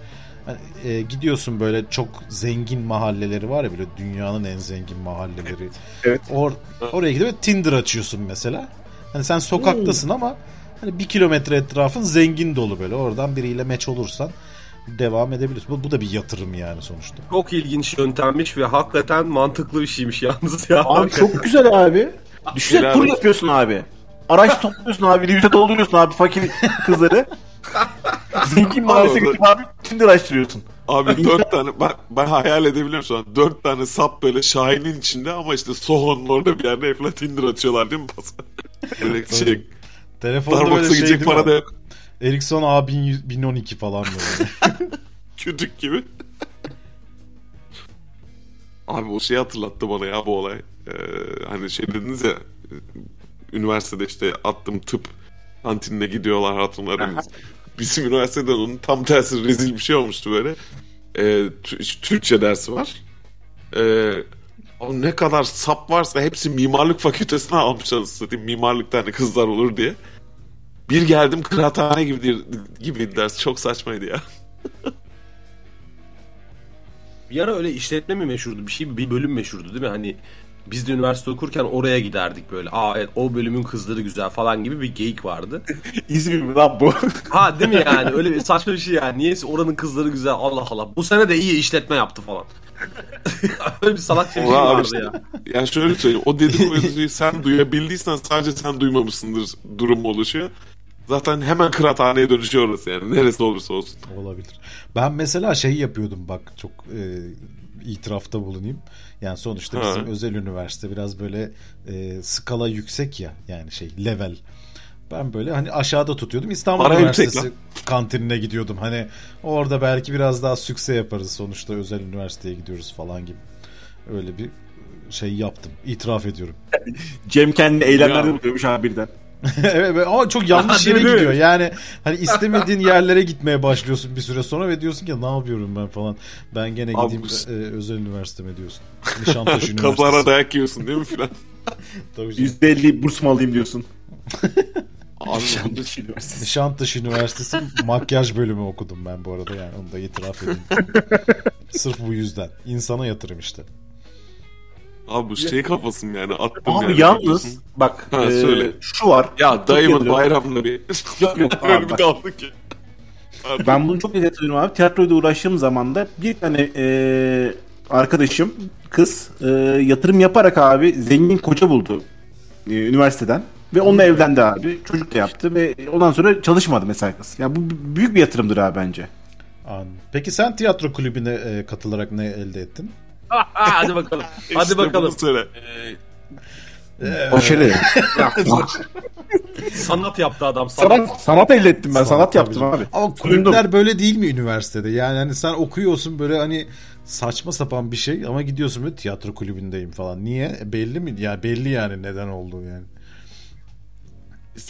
Hani, e, gidiyorsun böyle çok zengin mahalleleri var ya böyle dünyanın en zengin mahalleleri.
Evet.
Or, oraya gidip böyle Tinder açıyorsun mesela. Hani sen
Hmm.
sokaktasın ama hani bir kilometre etrafın zengin dolu böyle. Oradan biriyle meç olursan devam edebiliyorsun. Bu, bu da bir yatırım yani sonuçta.
Çok ilginç yöntemmiş ve hakikaten mantıklı bir şeymiş yalnız ya.
Abi çok güzel abi. Düşünsene
Güzel
tur
abi.
yapıyorsun abi. Araç topluyorsun abi. Rivzet dolduruyorsun abi fakir kızları. Zengin mahallesi
Abi,
gidip abi Tinder açtırıyorsun.
Abi dört tane ben, ben hayal edebiliyorum şu an. Dört tane sap böyle Şahin'in içinde ama işte Sohon'un orada bir yerde Efla Tinder açıyorlar değil mi? böyle şey,
Telefonda böyle
Starbucks'a
şey değil
gidecek para da
mi?
yok.
Ericsson A1012 falan böyle.
Kütük gibi. Abi o şeyi hatırlattı bana ya bu olay. Ee, hani şey dediniz ya e, üniversitede işte attım tıp kantinine gidiyorlar hatunlar. Bizim üniversitede onun tam tersi rezil bir şey olmuştu böyle. Ee, Tü- Türkçe dersi var. Ee, Abi ne kadar sap varsa hepsi mimarlık fakültesine almış anasını satayım. Mimarlıkta hani kızlar olur diye. Bir geldim kıraathane gibi gibi ders. Çok saçmaydı ya.
Bir ara öyle işletme mi meşhurdu bir şey bir bölüm meşhurdu değil mi? Hani biz de üniversite okurken oraya giderdik böyle. Aa evet o bölümün kızları güzel falan gibi bir geyik vardı.
İzmir mi lan bu?
Ha değil mi yani öyle bir saçma bir şey yani. Niyeyse oranın kızları güzel Allah Allah. Bu sene de iyi işletme yaptı falan. öyle bir salak şey
Ulan abi
vardı
işte-
ya.
Yani şöyle söyleyeyim. O dedikoduyu sen duyabildiysen sadece sen duymamışsındır durum oluşuyor. Zaten hemen kıraathaneye dönüşüyor orası yani. Neresi olursa olsun.
Olabilir. Ben mesela şey yapıyordum bak çok e, itirafta bulunayım. Yani sonuçta
Ha.
bizim özel üniversite biraz böyle e, skala yüksek ya yani şey level. Ben böyle hani aşağıda tutuyordum. İstanbul
Para yüksek
Üniversitesi kantinine gidiyordum. Hani orada belki biraz daha sükse yaparız sonuçta özel üniversiteye gidiyoruz falan gibi. Öyle bir şey yaptım. İtiraf ediyorum.
Cem kendi
Ya.
eylemlerde buluyormuş abi birden.
evet, evet. ama çok yanlış yere gidiyor. Yani hani istemediğin yerlere gitmeye başlıyorsun bir süre sonra ve diyorsun ki ne yapıyorum ben falan. Ben gene
Abi
gideyim
bu-
e, özel üniversiteme diyorsun. Nişantaşı
Kazara
Üniversitesi.
dayak yiyorsun değil mi filan?
Tabii canım.
%50 burs mu alayım diyorsun.
Abi bu-
Nişantaşı Üniversitesi makyaj bölümü okudum ben bu arada yani onu da itiraf edeyim. Sırf bu yüzden. İnsana yatırım işte.
Abi bu şey kafasım yani. Attım
Abi
yani.
yalnız bak
Ha,
e,
söyle.
şu var.
Ya
Çok
dayımın
yadırıyorum.
bayramını bir...
Yok yok abi
Öyle bir
bak.
kaldı ki.
Ben bunu çok net hatırlıyorum abi. Tiyatroyla uğraştığım zaman da bir tane e, arkadaşım kız e, yatırım yaparak abi zengin koca buldu e, üniversiteden. Ve onunla evlendi abi. Çocuk da yaptı ve ondan sonra çalışmadı mesela kız. Ya bu b- büyük bir yatırımdır abi bence.
An. Peki sen tiyatro kulübüne e, katılarak ne elde ettin?
Ha, hadi bakalım. Hadi
İşte
bakalım. E,
bunu söyle.
Başarı.
Sanat yaptı adam sanat.
sanat, sanat elde ettim ben. Sanat, yaptım
tabii
abi.
canım. Ama kulüpler böyle değil mi üniversitede? Yani hani sen okuyorsun böyle hani saçma sapan bir şey ama gidiyorsun böyle tiyatro kulübündeyim falan. Niye? E, Belli mi? Ya belli yani neden olduğu yani.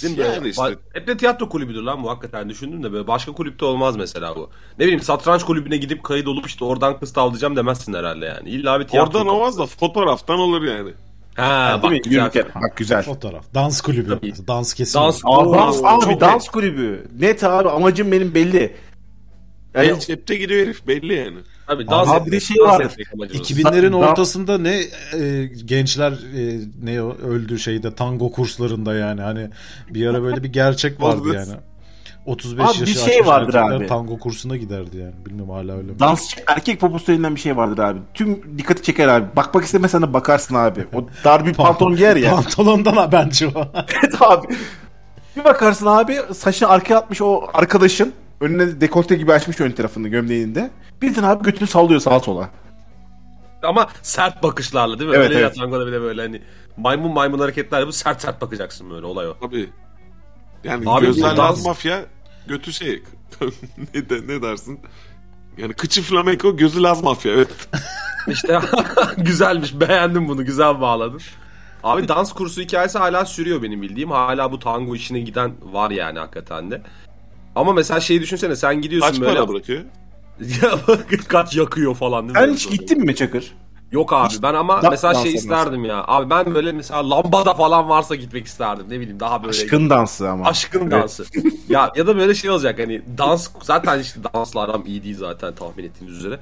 Değil mi?
Yani işte.
Ba- Hep de tiyatro kulübüdür lan bu hakikaten düşündüm de böyle başka kulüpte olmaz mesela bu. Ne bileyim satranç kulübüne gidip kayıt olup işte oradan kız tavlayacağım demezsin herhalde yani. İlla bir tiyatro
Oradan
kulübü.
olmaz da fotoğraftan olur yani.
Ha
Değil
bak
mi?
güzel.
Yürürken. Bak güzel.
Fotoğraf, dans kulübü,
Tabii.
dans kesimi.
Dans
Aa, dans,
Oo,
abi
çok
dans kulübü. Net abi amacım benim belli. Yani
El cepte gidiyor herif belli yani.
Tabii dans
Abi bir
etmek,
şey
dans
var.
etmek amacımız.
2000'lerin
Dans-
ortasında ne e, gençler e, ne o, öldü şeyde tango kurslarında yani hani bir ara böyle bir gerçek vardı
Oldu.
yani. 35
Abi bir
yaşı
şey
aşmış
vardır
erkekler
abi.
tango kursuna giderdi yani. Bilmiyorum hala öyle mi?
Dansçı erkek poposu denilen bir şey vardır abi. Tüm dikkati çeker abi. Bakmak istemesen de bakarsın abi. O dar bir pantolon giyer ya.
Pantolondan haberci o.
Evet abi. Bir bakarsın abi saçını arkaya atmış o arkadaşın. Önüne dekolte gibi açmış ön tarafını gömleğinde. Bildin abi götünü sallıyor sağa sola.
Ama sert bakışlarla değil mi?
Evet,
Öyle
evet.
ya tangoda bile böyle hani maymun maymun hareketler bu sert sert bakacaksın böyle olay o.
Tabii. Yani
Abi bu
gözler
dans-
laz mafya götü şey. ne, de, ne dersin? Yani kıçı flamenko gözü laz mafya evet.
İşte güzelmiş beğendim bunu güzel bağladın. Abi dans kursu hikayesi hala sürüyor benim bildiğim. Hala bu tango işine giden var yani hakikaten de. Ama mesela şeyi düşünsene sen gidiyorsun
Kaç
böyle.
para bırakıyor?
Ya bak, kaç yakıyor falan değil mi?
Sen
Böyle
hiç
soruyor.
gittin mi Çakır?
Yok abi ben ama
Da-
mesela
dans
şey
olmaz.
isterdim ya. Abi ben böyle mesela lambada falan varsa gitmek isterdim. Ne bileyim daha böyle
Aşkın dansı ama.
Aşkın dansı. ya ya da böyle şey olacak hani dans zaten işte dansla aram iyi değil zaten tahmin ettiğiniz üzere.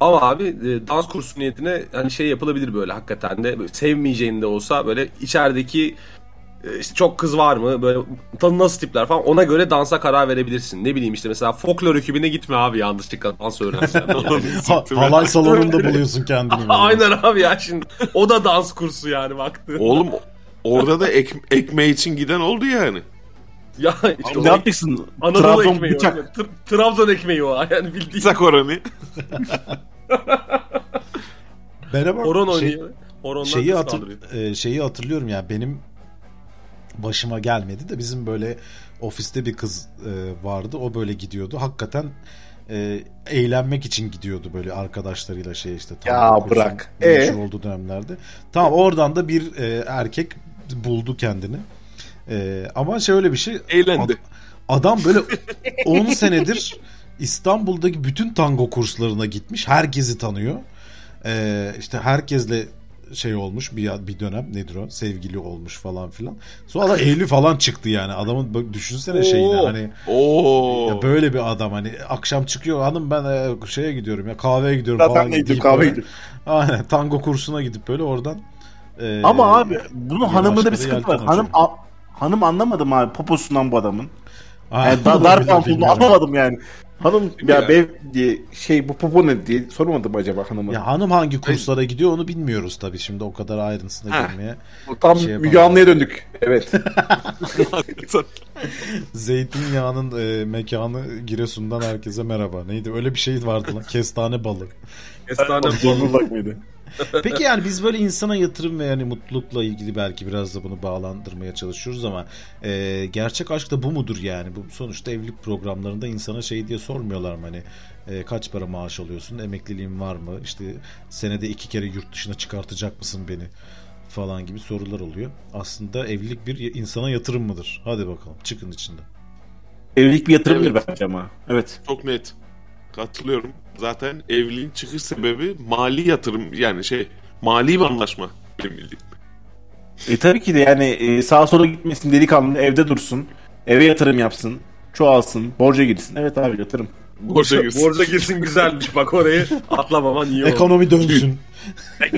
Ama abi e, dans kursu niyetine hani şey yapılabilir böyle hakikaten de böyle sevmeyeceğin de olsa böyle içerideki e, işte çok kız var mı böyle tanı nasıl tipler falan ona göre dansa karar verebilirsin. Ne bileyim işte mesela folklor ekibine gitme abi yanlışlıkla dans öğreneceğim. Yani.
Ha- halay salonunda buluyorsun kendini. böyle.
Aynen abi ya şimdi o da dans kursu yani baktı.
Oğlum orada da ek, ekmeği için giden oldu yani.
Ya işte
Ne
o
yapacaksın?
Anadolu
Trabzon
ekmeği
bıçak.
o. Tr- Trabzon ekmeği o yani bildiğin.
İzak oranı.
Merhaba.
Horon
Şey-
oynuyor. Horondan
şeyi
kız
hatır,
kaldırıyor.
e, şeyi hatırlıyorum ya benim başıma gelmedi de bizim böyle ofiste bir kız e, vardı o böyle gidiyordu hakikaten e, eğlenmek için gidiyordu böyle arkadaşlarıyla şey işte
Ya
kursun
bırak.
meşhur
E?
olduğu şey dönemlerde tamam oradan da bir e, erkek buldu kendini E, ama şöyle bir şey
Eğlendi.
ad- adam böyle 10 senedir İstanbul'daki bütün tango kurslarına gitmiş herkesi tanıyor e, işte Ee, herkesle şey olmuş bir bir dönem nedir o sevgili olmuş falan filan. Sonra Eylül falan çıktı yani adamın bak düşünsene şeyini
Oo.
hani
Oo.
ya böyle bir adam hani akşam çıkıyor hanım ben e, şeye gidiyorum ya kahveye gidiyorum
Zaten
falan.
ne gidiyor,
deyip
kahveye
böyle-
gidiyor.
Aynen tango kursuna gidip böyle oradan. e,
Ama abi bunun
bir
hanımında
başka
bir sıkıntı var.
yelten
Hanım
açıyor.
a- hanım anlamadım abi poposundan bu adamın.
Aynen.
Yani da, dar pantolonu
Bilmiyorum.
anlamadım yani. Hanım
ya?
ya bev diye şey bu popo ne diye sormadım acaba hanıma.
Ya hanım hangi kurslara gidiyor onu bilmiyoruz tabii şimdi o kadar ayrıntısına
Ha.
girmeye.
Tam
şey
Müge
yapamadım.
Anlı'ya döndük. Evet.
Hakikaten.
Zeytinyağının e, mekanı Giresun'dan herkese merhaba. Neydi öyle bir şey vardı lan kestane balı.
Kestane
Zorlulak mıydı?
Peki yani biz böyle insana yatırım ve yani mutlulukla ilgili belki biraz da bunu bağlandırmaya çalışıyoruz ama e, gerçek aşk da bu mudur yani? Bu sonuçta evlilik programlarında insana şey diye sormuyorlar mı hani e, kaç para maaş alıyorsun, emekliliğin var mı, işte senede iki kere yurt dışına çıkartacak mısın beni falan gibi sorular oluyor. Aslında evlilik bir insana yatırım mıdır? Hadi bakalım çıkın içinden.
Evlilik bir yatırımdır bence ama. Evet.
Çok net. Katılıyorum. Zaten evliliğin çıkış sebebi mali yatırım yani şey mali bir anlaşma benim bildiğim.
E tabii ki de yani e, sağa sola gitmesin delikanlı evde dursun. Eve yatırım yapsın. Çoğalsın. Borca girsin. Evet abi yatırım.
Borca girsin.
Borca girsin güzelmiş bak orayı atlamaman iyi oldu.
Ekonomi dönsün.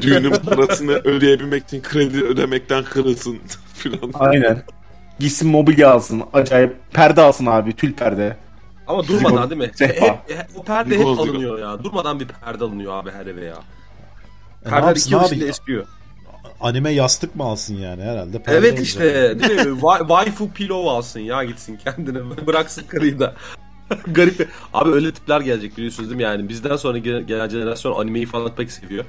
Düğünün parasını ödeyebilmek için kredi ödemekten kırılsın filan.
Aynen. Gitsin mobilya alsın. Acayip perde alsın abi. Tül perde.
Ama durmadan değil mi?
Sehpa.
Hep, hep- o perde hep
Ligozlu.
alınıyor ya. Durmadan bir perde alınıyor abi her eve ya.
E, ne
Perdeler
yapsın
iki yıl
abi?
içinde eskiyor.
Anime yastık mı alsın yani herhalde? Perde
Evet
olacak.
işte değil mi? Wa- Waifu pillow alsın ya gitsin kendine. Bıraksın karıyı da. Garip. Abi öyle tipler gelecek biliyorsunuz değil mi? Yani bizden sonra gelen gelen jenerasyon animeyi falan pek seviyor.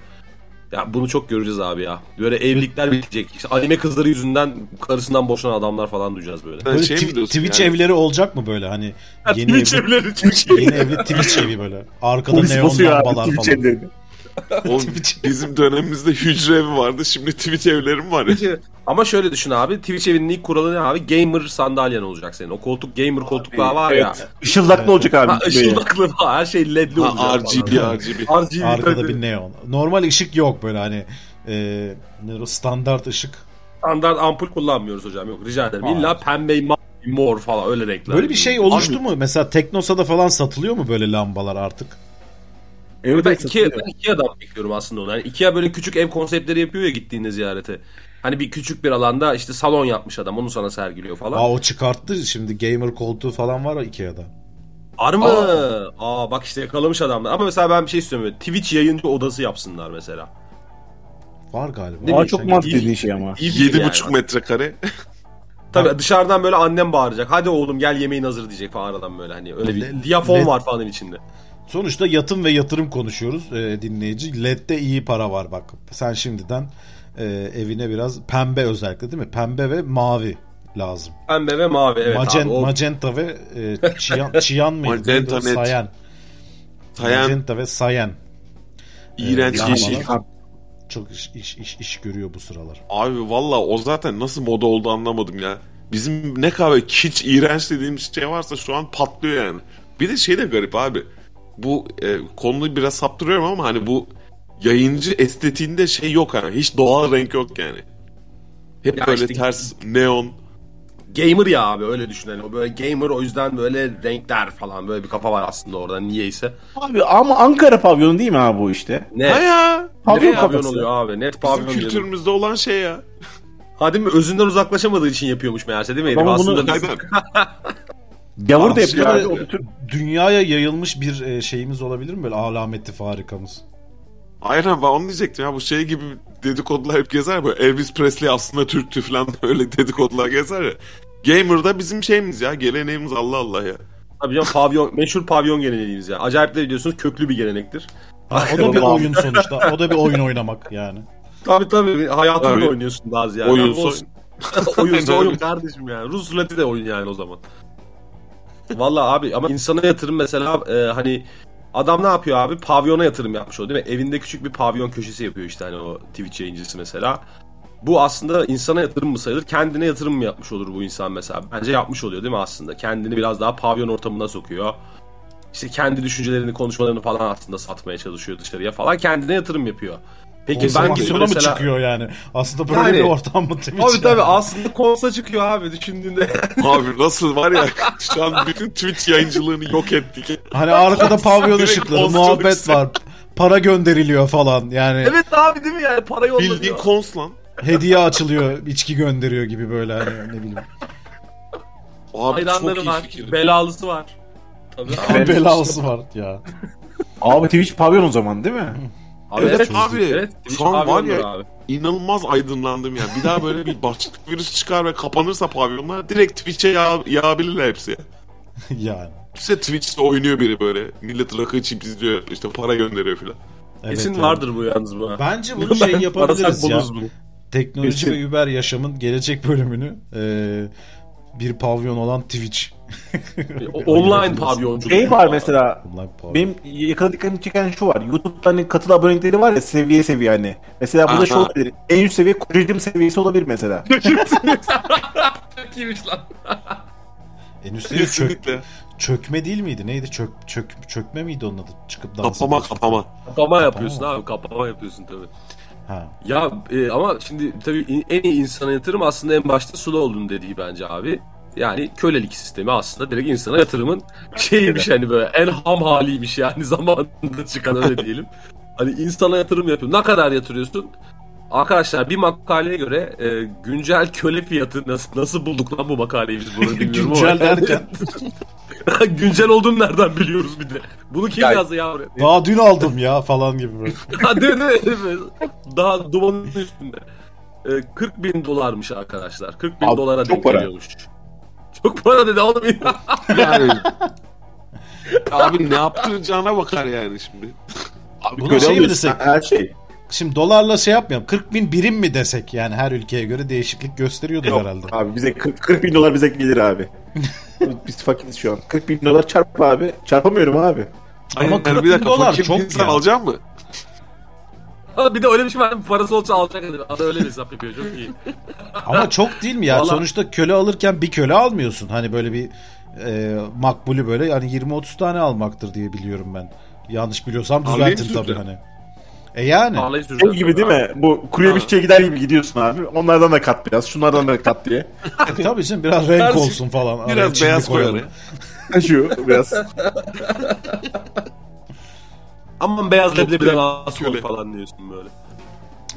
Ya bunu çok göreceğiz abi ya. Böyle evlilikler bitecek. İşte anime kızları yüzünden karısından boşanan adamlar falan duyacağız böyle.
Sen
Böyle
şey
twi-
mi diyorsun
Twitch
yani?
evleri olacak mı böyle hani yeni
Twitch
evli,
evleri, Twitch evleri.
yeni evli Twitch evi böyle. Arkada
Polis
neon
basıyor abi.
lambalar
Twitch
falan.
evlerini.
Oğlum, bizim dönemimizde hücre evi vardı. Şimdi Twitch evleri mi var ya?
Ama şöyle düşün abi. Twitch evinin ilk kuralı ne abi? Gamer sandalyen olacak senin. O koltuk gamer koltuklar var ya.
Işıldaklı olacak abi.
Ha, ışıldaklı falan, her şey ledli olacak.
Ha,
falan.
RGB RGB.
RGB
Arkada
tabii.
bir neon. Normal ışık yok böyle hani e, nedir o standart ışık.
standart ampul kullanmıyoruz hocam. Yok rica ederim.
Hayır.
İlla pembe, mavi, mor falan öyle renkler.
Böyle bir şey oluştu mu? Mesela Teknosa'da falan satılıyor mu böyle lambalar artık?
Evet,
Ben Ikea, ben Ikea'dan bekliyorum aslında onu. Yani Ikea böyle küçük ev konseptleri yapıyor ya gittiğinde ziyarete. Hani bir küçük bir alanda işte salon yapmış adam onu sana sergiliyor falan.
Aa o çıkarttı şimdi gamer koltuğu falan var o Ikea'da.
Arma. Aa bak işte yakalamış adamlar. Ama mesela ben bir şey istiyorum. böyle Twitch yayıncı odası yapsınlar mesela.
Var galiba.
Değil
Aa,
mi?
çok
Sen-
mantıklı dediğin şey ama.
İyi fikir
7,5
yani.
metrekare.
Tabii dışarıdan böyle annem bağıracak. Hadi oğlum gel yemeğin hazır diyecek falan aradan böyle hani. Öyle
Le-
bir diyafon
le-
var falan içinde.
Sonuçta yatım ve yatırım konuşuyoruz e, dinleyici. LED'de iyi para var bak. Sen şimdiden e, evine biraz pembe özellikle değil mi? Pembe ve mavi lazım.
Pembe ve mavi evet
Macen-
abi. O
Magenta ve e, çiyan, çiyan mıydı?
Magenta
Neydi o?
net.
Sayan.
Sayan
Magenta ve sayan.
iğrenç
Ee,
yeşil.
lambalar Çok iş, iş, iş, iş görüyor bu sıralar.
Abi valla o zaten nasıl moda oldu anlamadım ya. Bizim ne kadar kiç iğrenç dediğimiz şey varsa şu an patlıyor yani. Bir de şey de garip abi. Bu e, konuyu biraz saptırıyorum ama hani bu yayıncı estetiğinde şey yok hani. Hiç doğal renk yok yani. Hep
Ya
böyle
işte-
ters neon.
gamer ya abi öyle düşün hani o böyle gamer o yüzden böyle renkler falan böyle bir kafa var aslında orada niyeyse.
Abi ama Ankara pavyonu değil mi abi bu işte?
Ne?
Ha ya.
Pavyon
Pavyon,
kafası.
oluyor abi net
Bizim
pavyon diyorum.
kültürümüzde olan şey ya.
Ha değil mi özünden uzaklaşamadığı için yapıyormuş meğerse değil mi? herif?
Ama bunu-
aslında biz-
Aynen.
Gavur da yapıyor
Aslında
abi. O bütün-
dünyaya yayılmış bir e, şeyimiz olabilir mi? Böyle alameti farikamız.
Aynen ben onu diyecektim ya bu şey gibi dedikodular hep gezer böyle Elvis Presley aslında Türktü falan öyle dedikodular gezer ya. Gamer'da bizim şeyimiz ya geleneğimiz Allah Allah ya.
Tabii canım pavyon meşhur pavyon geleneğimiz ya. Acayip de biliyorsunuz köklü bir gelenektir.
Ha, o da bir oyun sonuçta. O da bir oyun oynamak yani.
Tabii tabii hayatını
Tabii.
oynuyorsun daha ziyade.
Oyun
Ama
soy-
olsun. Oyunsa
Aynen
oyun
öyle.
kardeşim yani. Rus ruleti de oyun yani o zaman. Vallahi abi ama insana yatırım mesela e, hani adam ne yapıyor abi? Pavyona yatırım yapmış o değil mi? Evinde küçük bir pavyon köşesi yapıyor işte hani o Twitch yayıncısı mesela. Bu aslında insana yatırım mı sayılır? Kendine yatırım mı yapmış olur bu insan mesela? Bence yapmış oluyor değil mi aslında? Kendini biraz daha pavyon ortamına sokuyor. İşte kendi düşüncelerini, konuşmalarını falan aslında satmaya çalışıyor dışarıya falan. Kendine yatırım yapıyor. Peki
Konsa
ben gidip
mı
mesela...
çıkıyor yani? Aslında böyle
Yani-
bir ortam mı Twitch?
Abi tabii
yani?
aslında konsa çıkıyor abi düşündüğünde.
Abi nasıl var ya şu an bütün Twitch yayıncılığını yok ettik.
Hani arkada pavyon
Direkt
ışıkları,
konsolun
muhabbet
üstüne.
var. Para gönderiliyor falan yani.
evet abi değil mi yani para
Bildiğin
yollanıyor.
kons lan.
Hediye açılıyor, içki gönderiyor gibi böyle hani ne bileyim.
Abi çok
Hayranları
iyi
var.
fikir.
Belalısı var. Tabii abi.
Evet.
Belası var ya.
Abi Twitch pavyon o zaman değil mi?
Abi,
Evet abi.
Twitch
Şu an var
pavyondur
ya-
abi.
İnanılmaz aydınlandım ya. Bir daha böyle bir başlık virüs çıkar ve kapanırsa pavyonlar direkt Twitch'e yağ, yağabilirler hepsi. ya.
Yani.
İşte Twitch'te oynuyor biri böyle. Millet rakı içip izliyor. işte para gönderiyor filan.
Evet,
Kesin
evet.
vardır bu yalnız bu.
Bence bunu şey
Ben-
yapabiliriz
arasak
ya.
buluruz bunu.
Teknoloji
Kesin.
ve Uber yaşamın gelecek bölümünü eee, bir pavyon olan Twitch.
O- Online pavyonculuk.
Şey var mesela
Online pavyon.
benim yakada dikkatimi çeken şu var. YouTube'da hani katılı abonelikleri var ya seviye seviye hani. Mesela burada şu
Aha.
olabilir. En üst seviye kocacım seviyesi olabilir mesela.
Kimmiş lan?
En üstelik çök-
Kesinlikle.
çökme değil miydi? Neydi? Çök, çök, çökme miydi onun adı? Çıkıp dans
Kapama
ediyorsun.
kapama.
Kapama yapıyorsun abi kapama yapıyorsun tabii.
Ha.
Ya e, ama şimdi tabii in- en iyi insana yatırım aslında en başta Sula olduğunu dediği bence abi. Yani kölelik sistemi aslında direkt insana yatırımın şeyiymiş hani böyle en ham haliymiş yani zamanında çıkan öyle diyelim. Hani insana yatırım yapıyorum. Ne kadar yatırıyorsun? Arkadaşlar bir makaleye göre e, güncel köle fiyatı nasıl, nasıl bulduk lan bu makaleyi biz bunu bilmiyorum
Güncel
ama.
derken
güncel olduğunu nereden biliyoruz bir de. Bunu kim yazdı yavrum?
daha dün aldım ya falan gibi böyle.
Ha, değil mi? Değil mi? Daha dumanın üstünde. Ee, 40 bin dolarmış arkadaşlar. 40 bin
Abi,
dolara
çok
denk
para.
geliyormuş. Çok para dedi oğlum ya.
Yani abi ne yaptıracağına bakar yani şimdi.
Abi
Buna şey mi desek?
Her şey.
Şimdi dolarla şey yapmayalım. 40 bin birim mi desek? Yani her ülkeye göre değişiklik gösteriyordur herhalde.
Abi bize 40, 40 bin dolar bize gelir abi. Biz fakiriz şu an. 40 bin dolar çarp abi. Çarpamıyorum abi.
Ama
Ama
40
bir dakika
dolar
fakir
çok
bir insan
ya.
alacak mı?
Ha, bir de öyle bir şey var. Parası olsa alacak adam. Adam öyle bir hesap yapıyor. Çok iyi.
Ama çok değil mi ya?
Vallahi-
Sonuçta köle alırken bir köle almıyorsun. Hani böyle bir e, makbulü böyle yani 20-30 tane almaktır diye biliyorum ben. Yanlış biliyorsam
Alayım
düzeltin
sürekli.
tabii hani. E yani.
Pahalayı
Şey
süreceğim.
gibi değil mi? Bu kurye bir şey gider gibi gidiyorsun abi. Onlardan da kat biraz. Şunlardan da kat diye.
E tabii şimdi biraz renk
Birazcık-
olsun falan. Araya
Biraz
çizgi
şey
beyaz
koyalım.
koyalım.
Şu biraz.
Aman beyaz
Çok
leblebiden
köle-
asıl
köle.
falan diyorsun böyle.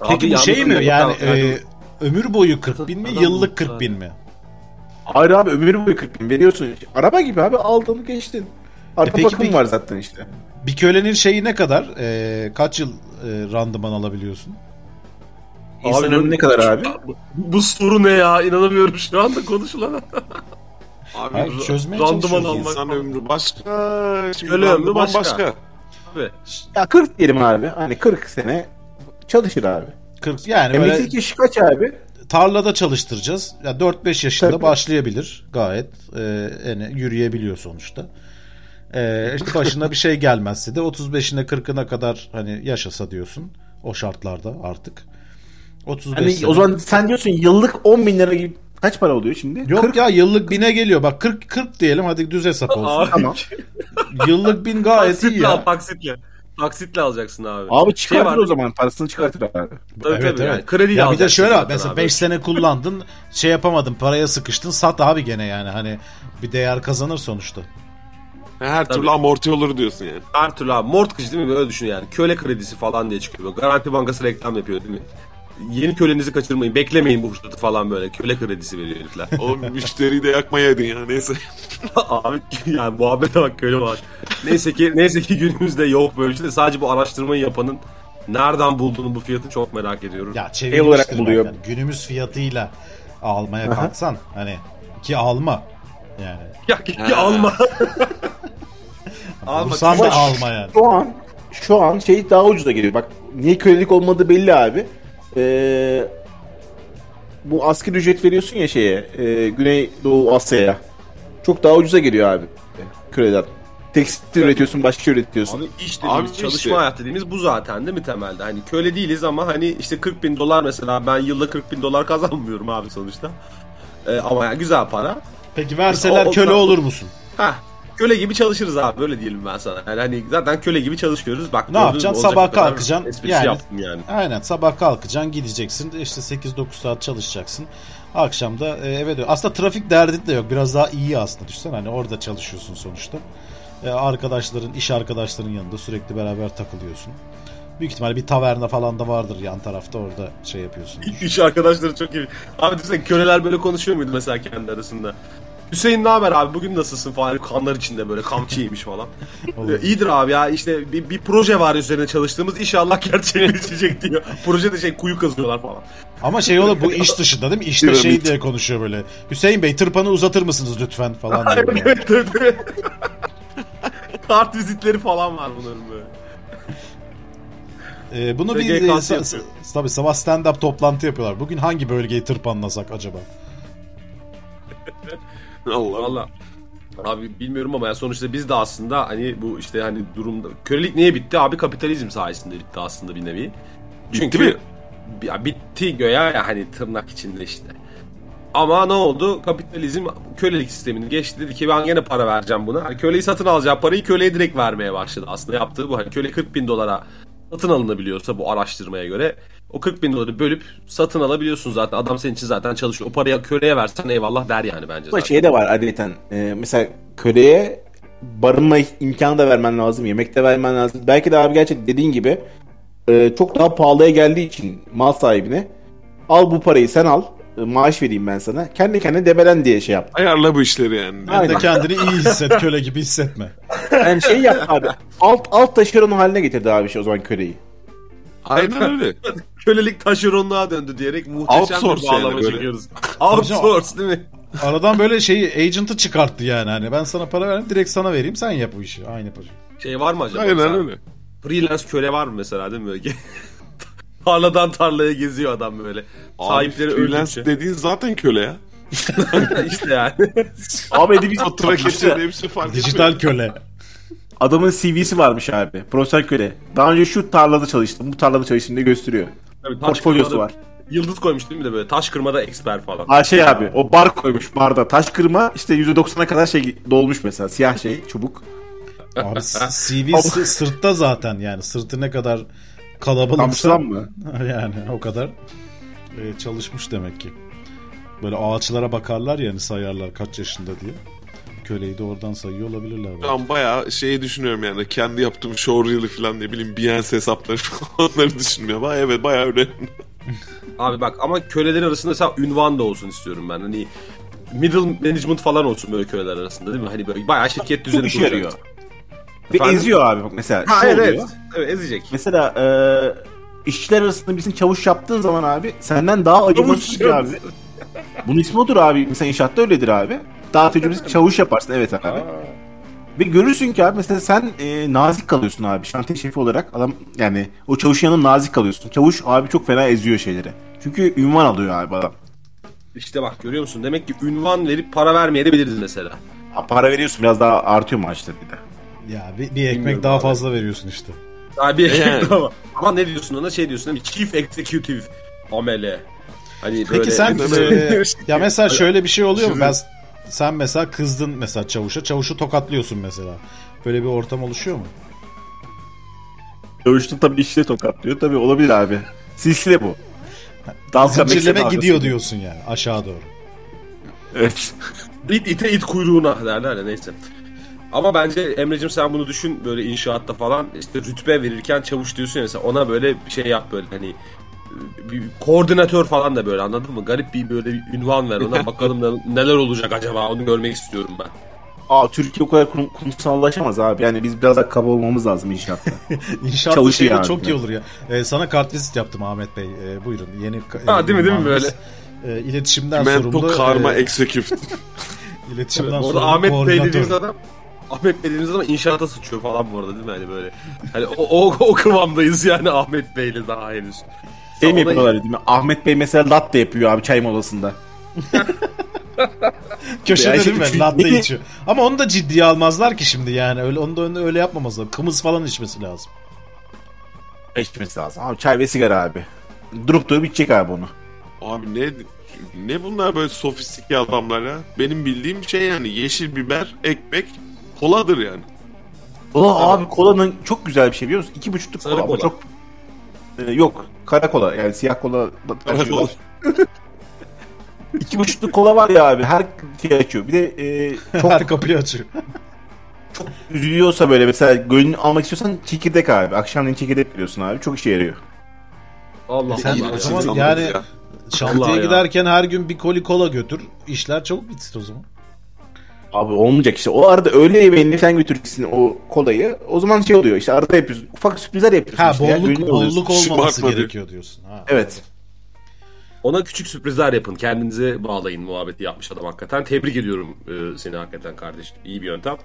Peki
Abi
bu şey
yalnız
mi
öyle
yani,
bakan-
e, ömür boyu 40 bin mi
Adam
yıllık
mutlu
40 bin mi?
Hayır abi ömür boyu 40 bin veriyorsun. Araba gibi abi aldın geçtin. Arka
E peki
bakım
bir-
var zaten işte.
Bir kölenin şeyi ne kadar? E, kaç yıl e, randıman alabiliyorsun?
İnsan
Abi,
ömrü ne kadar abi?
Bu, bu soru ne ya? İnanamıyorum şu anda konuşulan.
Abi
Hayır,
ra-
çözmeye
randıman
çalışıyoruz.
almak-
insan ömrü başka. Şimdi
Köle ömrü
randıman
başka.
başka.
Abi.
Ya 40 diyelim abi. Hani 40 sene çalışır abi.
40 yani böyle
Emeklilik yaşı kaç abi?
tarlada çalıştıracağız. Ya 4-5 yaşında
Tabii.
başlayabilir gayet. Ee, yani yürüyebiliyor sonuçta. Ee, işte başına bir şey gelmezse de 35'ine 40'ına kadar hani yaşasa diyorsun. O şartlarda artık. 35
Hani
sene-
o zaman sen diyorsun yıllık 10 bin lira gibi kaç para oluyor şimdi?
Yok
40
ya yıllık bine geliyor. Bak 40 40 diyelim hadi düz hesap olsun.
Abi.
tamam.
yıllık bin gayet iyi
Taksitle al
ya.
taksitle. Taksitle alacaksın abi.
Abi
Şey
çıkartır
var,
o zaman parasını çıkartır abi.
Tabii
evet
tabii
evet.
yani. Kredi
ya bir de
alacaksın
şöyle bak
zaten
mesela
abi.
5 sene kullandın şey yapamadın paraya sıkıştın sat abi gene yani hani bir değer kazanır sonuçta.
Her
Tabii.
türlü amorti olur diyorsun yani.
Her türlü abi. Mortgage değil mi? Böyle düşün yani. Köle kredisi falan diye çıkıyor. Böyle Garanti Bankası reklam yapıyor değil mi? Yeni kölenizi kaçırmayın. Beklemeyin bu fırsatı falan böyle. Köle kredisi veriyor herifler.
O müşteriyi de yakmayaydın ya neyse.
abi yani muhabbete bak köle var. Neyse ki neyse ki günümüzde yok böyle bir şey de sadece bu araştırmayı yapanın nereden bulduğunu bu fiyatı çok merak ediyorum.
Ya
El olarak
çevirmiştir
buluyor.
bak yani. Günümüz fiyatıyla almaya kalksan hani ki alma yani.
Ya, ki- ki alma. alma.
Bulsan da
Ama-
alma yani.
Şu an şu an şey daha ucuza geliyor. Bak niye kölelik olmadığı belli abi. Ee, bu asgari ücret veriyorsun ya şeye e, Güneydoğu Asya'ya. Çok daha ucuza geliyor abi köleden. Tekstil üretiyorsun, başka şey üretiyorsun.
Abi iş dediğimiz,
Abi işte.
çalışma hayatı dediğimiz bu zaten değil mi temelde? Hani köle değiliz ama hani işte 40 bin dolar mesela ben yılda 40 bin dolar kazanmıyorum abi sonuçta. Ee, ama yani güzel para.
Peki verseler
O- o-
köle olur musun?
Heh. köle gibi çalışırız abi böyle diyelim ben sana. Yani hani zaten köle gibi çalışıyoruz. Bak
Ne
gördün mü,
yapacaksın?
olacak
Sabah
bu kadar
kalkacaksın.
Esprisi
Yani-
yaptım yani.
Aynen sabah kalkacaksın gideceksin işte 8-9 saat çalışacaksın. Akşam da e, eve dön. Aslında trafik derdin de yok. Biraz daha iyi aslında düşünsen hani orada çalışıyorsun sonuçta. E, arkadaşların, iş arkadaşların yanında sürekli beraber takılıyorsun. Büyük ihtimalle bir taverna falan da vardır yan tarafta orada şey yapıyorsun.
İş arkadaşları çok iyi. Abi düşünsene köleler böyle konuşuyor muydu mesela kendi arasında? Hüseyin ne haber abi bugün nasılsın falan Hani kanlar içinde böyle kamçıymış falan.
Olur.
İyidir abi ya işte bir, bir proje var üzerine çalıştığımız inşallah gerçekleşecek diyor. Projede şey kuyu kazıyorlar falan.
Ama şey olur bu iş dışında değil mi? İşte
Piramit.
şey diye konuşuyor böyle. Hüseyin Bey tırpanı uzatır mısınız lütfen falan diyor. böyle.
Evet, evet, evet. Kart vizitleri falan var bunların böyle.
E, bunu bir
SGK'sı
e, sa-
yapıyor.
sa- tabii sabah stand up toplantı yapıyorlar. Bugün hangi bölgeyi tırpanlasak acaba?
Allah Allah.
Valla abi bilmiyorum ama yani sonuçta biz de aslında hani bu işte hani durumda kölelik niye bitti abi kapitalizm sayesinde bitti aslında bir nevi. Çünkü
mi?
Ya bitti göya ya hani tırnak içinde işte. Ama ne oldu? Kapitalizm kölelik sistemini geçti. Dedi ki ben gene para vereceğim buna. Hani köleyi satın alacağı parayı köleye direkt vermeye başladı aslında. Yaptığı bu. Hani köle 40 bin dolara satın alınabiliyorsa bu araştırmaya göre o 40 bin doları bölüp satın alabiliyorsun zaten. Adam senin için zaten çalışıyor. O parayı köleye versen eyvallah der yani bence
Ama
zaten.
şey de var adeten. Ee, mesela köleye barınma imkanı da vermen lazım. Yemek de vermen lazım. Belki de abi gerçek dediğin gibi e, çok daha pahalıya geldiği için mal sahibine al bu parayı sen al. e, Maaş vereyim ben sana. Kendi kendine debelen diye şey yaptı.
Ayarla bu işleri yani.
Hem de
Aynen.
kendini iyi hisset, köle gibi hissetme.
Yani şey yap abi. Alt alt taşeron haline getirdi abi şey o zaman köleyi.
Aynen öyle.
kölelik taşeronluğa döndü diyerek muhteşem
Outsource
bir bağlama
yani böyle.
çekiyoruz. Outsource değil mi?
Aradan böyle şeyi agent'ı çıkarttı yani hani ben sana para verdim direkt sana vereyim sen yap bu işi. Aynı proje.
Şey var mı acaba?
Aynen
Mesela
öyle.
Freelance köle var mı mesela değil mi böyle? Tarladan tarlaya geziyor adam böyle. Sahipleri
Abi, freelance
öldükçe.
dediğin zaten köle ya.
işte yani.
Abi edip
O trak ediyor hepsi şey fark etmiyor.
Dijital köle.
Adamın CV'si varmış abi. Profesyonel köle. Daha önce şu tarlada çalıştım, bu tarlada çalıştım diye gösteriyor.
Tabii taş
Portfolyosu
kırmada
var.
Yıldız koymuş değil mi de böyle taş kırmada expert falan.
Ha şey abi, o bar koymuş barda. Taş kırma işte %90'a kadar şey dolmuş mesela. Siyah şey, çubuk.
Abi s- CV sı- sırtta zaten yani sırtı ne kadar kalabalıksa
Kamçılan mı?
yani o kadar e, çalışmış demek ki. Böyle ağaçlara bakarlar yani sayarlar kaç yaşında diye. Köleyi de oradan sayıyor olabilirler. belki.
Şu an bayağı şeyi düşünüyorum yani kendi yaptığım showreel'i falan ne bileyim Beyoncé hesapları falan onları düşünmüyorum. Ha evet bayağı öyle.
Abi bak ama kölelerin arasında mesela ünvan da olsun istiyorum ben. Hani middle management falan olsun böyle köleler arasında değil mi? Hani böyle bayağı şirket
Çok
düzeni
işe yarıyor.
kuracak.
Ve
Efendim?
eziyor abi bak mesela.
Ha
Şu
evet,
oluyor.
evet. Evet ezecek.
Mesela e, işçiler arasında birisini çavuş yaptığın zaman abi senden daha acımasız bir abi. Bunun ismi odur abi. Mesela inşaatta öyledir abi. Daha tecrübesiz çavuş yaparsın evet abi. Ve görürsün ki abi mesela sen e, nazik kalıyorsun abi şantiye şefi olarak. Adam yani o çavuşun yanında nazik kalıyorsun. Çavuş abi çok fena eziyor şeyleri. Çünkü ünvan alıyor abi adam.
İşte bak görüyor musun? Demek ki ünvan verip para vermeyebiliriz mesela.
Ha, para veriyorsun biraz daha artıyor maaşları bir de.
Ya bir, bir ekmek
Bilmiyorum
daha
abi.
fazla veriyorsun işte.
Daha bir ekip
Yani.
ama. Ama ne diyorsun ona? Şey diyorsun değil mi? Chief Executive amele. Hani böyle şey-
Peki sen e, ya mesela şöyle bir şey oluyor mu?
Sizin-
Ben sen mesela kızdın mesela çavuşa, çavuşu tokatlıyorsun mesela. Böyle bir ortam oluşuyor mu?
Çavuşta tabii işle tokatlıyor. Tabii olabilir abi. Silsile bu. Dalga
Zincirleme
Meksika
gidiyor
dalgası.
diyorsun yani aşağı doğru.
Evet.
it ite it kuyruğuna derler ya neyse. Ama bence Emre'cim sen bunu düşün böyle inşaatta falan işte rütbe verirken çavuş diyorsun ya mesela ona böyle bir şey yap böyle hani bir koordinatör falan da böyle anladın mı? Garip bir böyle bir ünvan ver ona bakalım ne- neler olacak acaba onu görmek istiyorum ben.
Aa Türkiye o kadar kurum, kurumsallaşamaz abi. Yani biz biraz daha kaba olmamız lazım inşaatta.
İnşaat
Çavuşu
şeyi şey de
yani.
çok iyi olur ya. E, sana kartvizit yaptım Ahmet Bey. E, buyurun yeni ka-
Ha,
e,
değil mi, değil mi
muhandis. E, iletişimden sorumlu.
Mental Karma
e,
Executive.
iletişimden sorumlu
Orada Ahmet Bey
koordinatör.
dediğimiz adam Ahmet Bey dediğimiz adam inşaata sıçıyor falan bu arada değil mi? Hani böyle. Hani o, o, o kıvamdayız yani Ahmet Bey'le daha henüz.
şey
Ona-
mi yapıyorlar değil mi? Ahmet Bey mesela latte yapıyor abi çay molasında.
Köşede
Ya
değil mi?
şimdi-
Latte içiyor. Ama onu da ciddiye almazlar ki şimdi yani. Öyle, onu da öyle- öyle yapmaması lazım. Kımız falan içmesi lazım.
İçmesi lazım. Abi çay ve sigara abi. Durup durup içecek abi onu.
Abi ne ne bunlar böyle sofistike adamlar ya? Benim bildiğim şey yani yeşil biber, ekmek, Koladır yani.
Kola abi kolanın çok güzel bir şey biliyor musun? İki buçukluk
Sarı
kola, ama
kola.
çok... Ee, yok kara kola yani siyah kola. şey
kola.
İki buçukluk kola var ya abi her şey açıyor. Bir de e, çok
Her kapıyı açıyor.
üzülüyorsa böyle mesela gönlünü almak istiyorsan çekirdek abi. Akşamleyin çekirdek biliyorsun abi çok işe yarıyor.
Allah
E Sen-
Allah.
o
Hiç
zaman
insanlık
yani-
ya.
Allah
Şantiye
ya.
giderken her gün bir koli kola götür. İşler çabuk bitsin o zaman.
Abi olmayacak işte. O arada öğle yemeğini sen götüreceksin o kolayı. O zaman şey oluyor işte arada yapıyorsun. Ufak sürprizler yapıyorsun.
Ha
işte ya,
bolluk,
gönlünü alıyorsun.
bolluk olmaması
Şımartma diyor.
gerekiyor diyorsun. Ha.
Evet.
Ona küçük sürprizler yapın. Kendinize bağlayın muhabbeti yapmış adam hakikaten. Tebrik ediyorum e, seni hakikaten kardeşim. İyi bir yöntem.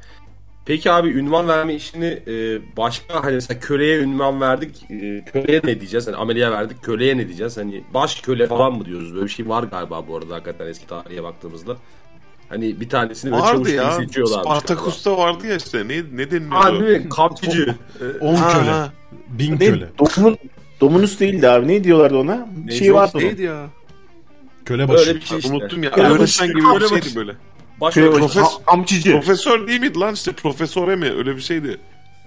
Peki abi ünvan verme işini e, başka hani mesela köleye ünvan verdik. e, köleye ne diyeceğiz? Hani ameliye verdik. Köleye ne diyeceğiz? Hani baş köle falan mı diyoruz? Böyle bir şey var galiba bu arada hakikaten eski tarihe baktığımızda. Hani bir tanesini böyle çavuş
Vardı
gibi
ya.
seçiyorlarmış galiba.
Spartaküs'te vardı ya işte. Ne, ne deniliyordu?
Abi değil mi? Kampçıcı.
10
Ha,
köle.
ha.
1000
Ne?
köle.
Domun, Dominus değildi abi. Ne diyorlardı ona? Bir şey
Yok,
vardı onun.
Neydi ya?
Köle başı.
Böyle bir şey işte.
Unuttum ya.
Ya,
Öğretmen gibi
böyle
bir
bak-
şeydi böyle.
Baş
Şey,
köle.
Profes-
ha- amçici.
Profesör değil miydi lan işte? Profesöre mi? Öyle bir şeydi.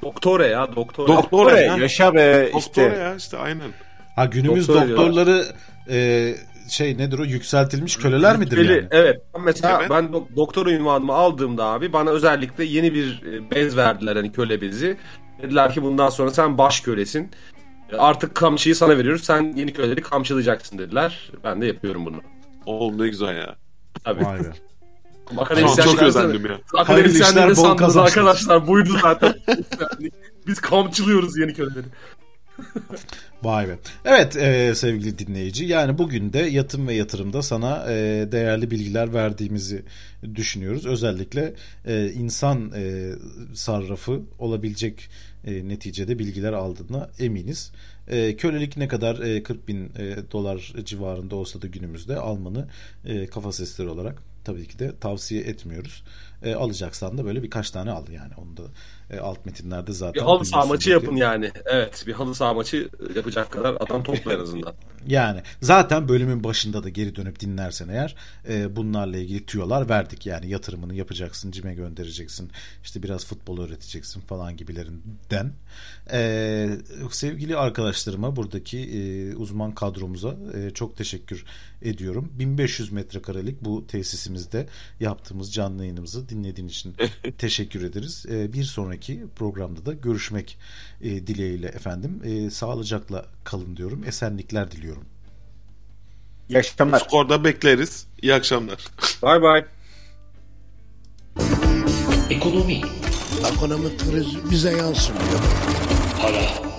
Doktore ya doktore.
Dok-
Doktor
Doktora
ya.
ya.
Yaşa be
Doktora
işte.
ya işte aynen.
Ha günümüz
Doktor diyorlar.
doktorları e, şey nedir o yükseltilmiş köleler midir
Belli,
yani?
Evet. Ben Mesela
Evet.
ben do- doktor ünvanımı aldığımda abi bana özellikle yeni bir e, bez verdiler hani köle bezi. Dediler ki bundan sonra sen baş kölesin. E, Artık kamçıyı sana veriyoruz. Sen yeni köleleri kamçılayacaksın dediler. Ben de yapıyorum bunu.
Oğlum ne güzel ya.
Tabii.
Vay be.
Şu an
Akademisyenler
çok özendim ya.
Hayırlı işler,
Akademisyenler
bol
ne sandınız
kazançlar.
arkadaşlar? Buydu zaten. Biz kamçılıyoruz yeni köleleri.
Vay be. Evet e, sevgili dinleyici yani bugün de yatım ve yatırımda sana e, değerli bilgiler verdiğimizi düşünüyoruz. Özellikle e, insan e, sarrafı olabilecek e, neticede bilgiler aldığına eminiz. E, kölelik ne kadar e, 40 bin e, dolar civarında olsa da günümüzde almanı e, kafa sesleri olarak tabii ki de tavsiye etmiyoruz. E, alacaksan da böyle birkaç tane al yani onu da e, alt metinlerde
Bir
zaten.
halı saha
duyuyorsun
maçı
diye.
yapın yani. Evet. Bir halı saha maçı yapacak kadar adam topla en azından.
Yani zaten bölümün başında da geri dönüp dinlersen eğer e, bunlarla ilgili tüyolar verdik. Yani yatırımını yapacaksın, cime göndereceksin, işte biraz futbol öğreteceksin falan gibilerinden. E, sevgili arkadaşlarıma buradaki e, uzman kadromuza e, çok teşekkür ediyorum. 1500 metrekarelik bu tesisimizde yaptığımız canlı yayınımızı dinlediğin için teşekkür ederiz. E, bir sonraki programda da görüşmek e, dileğiyle efendim. E, sağlıcakla kalın diyorum. Esenlikler diliyorum.
İyi akşamlar.
Skorda bekleriz. İyi akşamlar.
Bay bay.
Ekonomi,
Ekonomik kriz bize yansımıyor.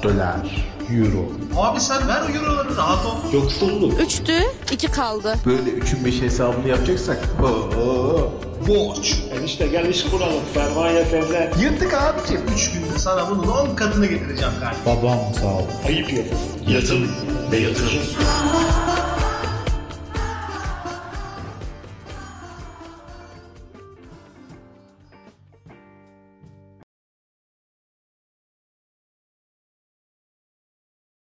para,
Abi sen ver o euroları rahat ol.
yoksulluk,
Üçtü, iki kaldı.
Böyle üçün beş hesabını yapacaksak. Oo.
Borç.
enişte gel iş kuralım, Fermaya fevre,
Yırtık abicim. Üç günde sana bunun on katını getireceğim kardeşim.
ayıp yapın, yatın ve yatırın.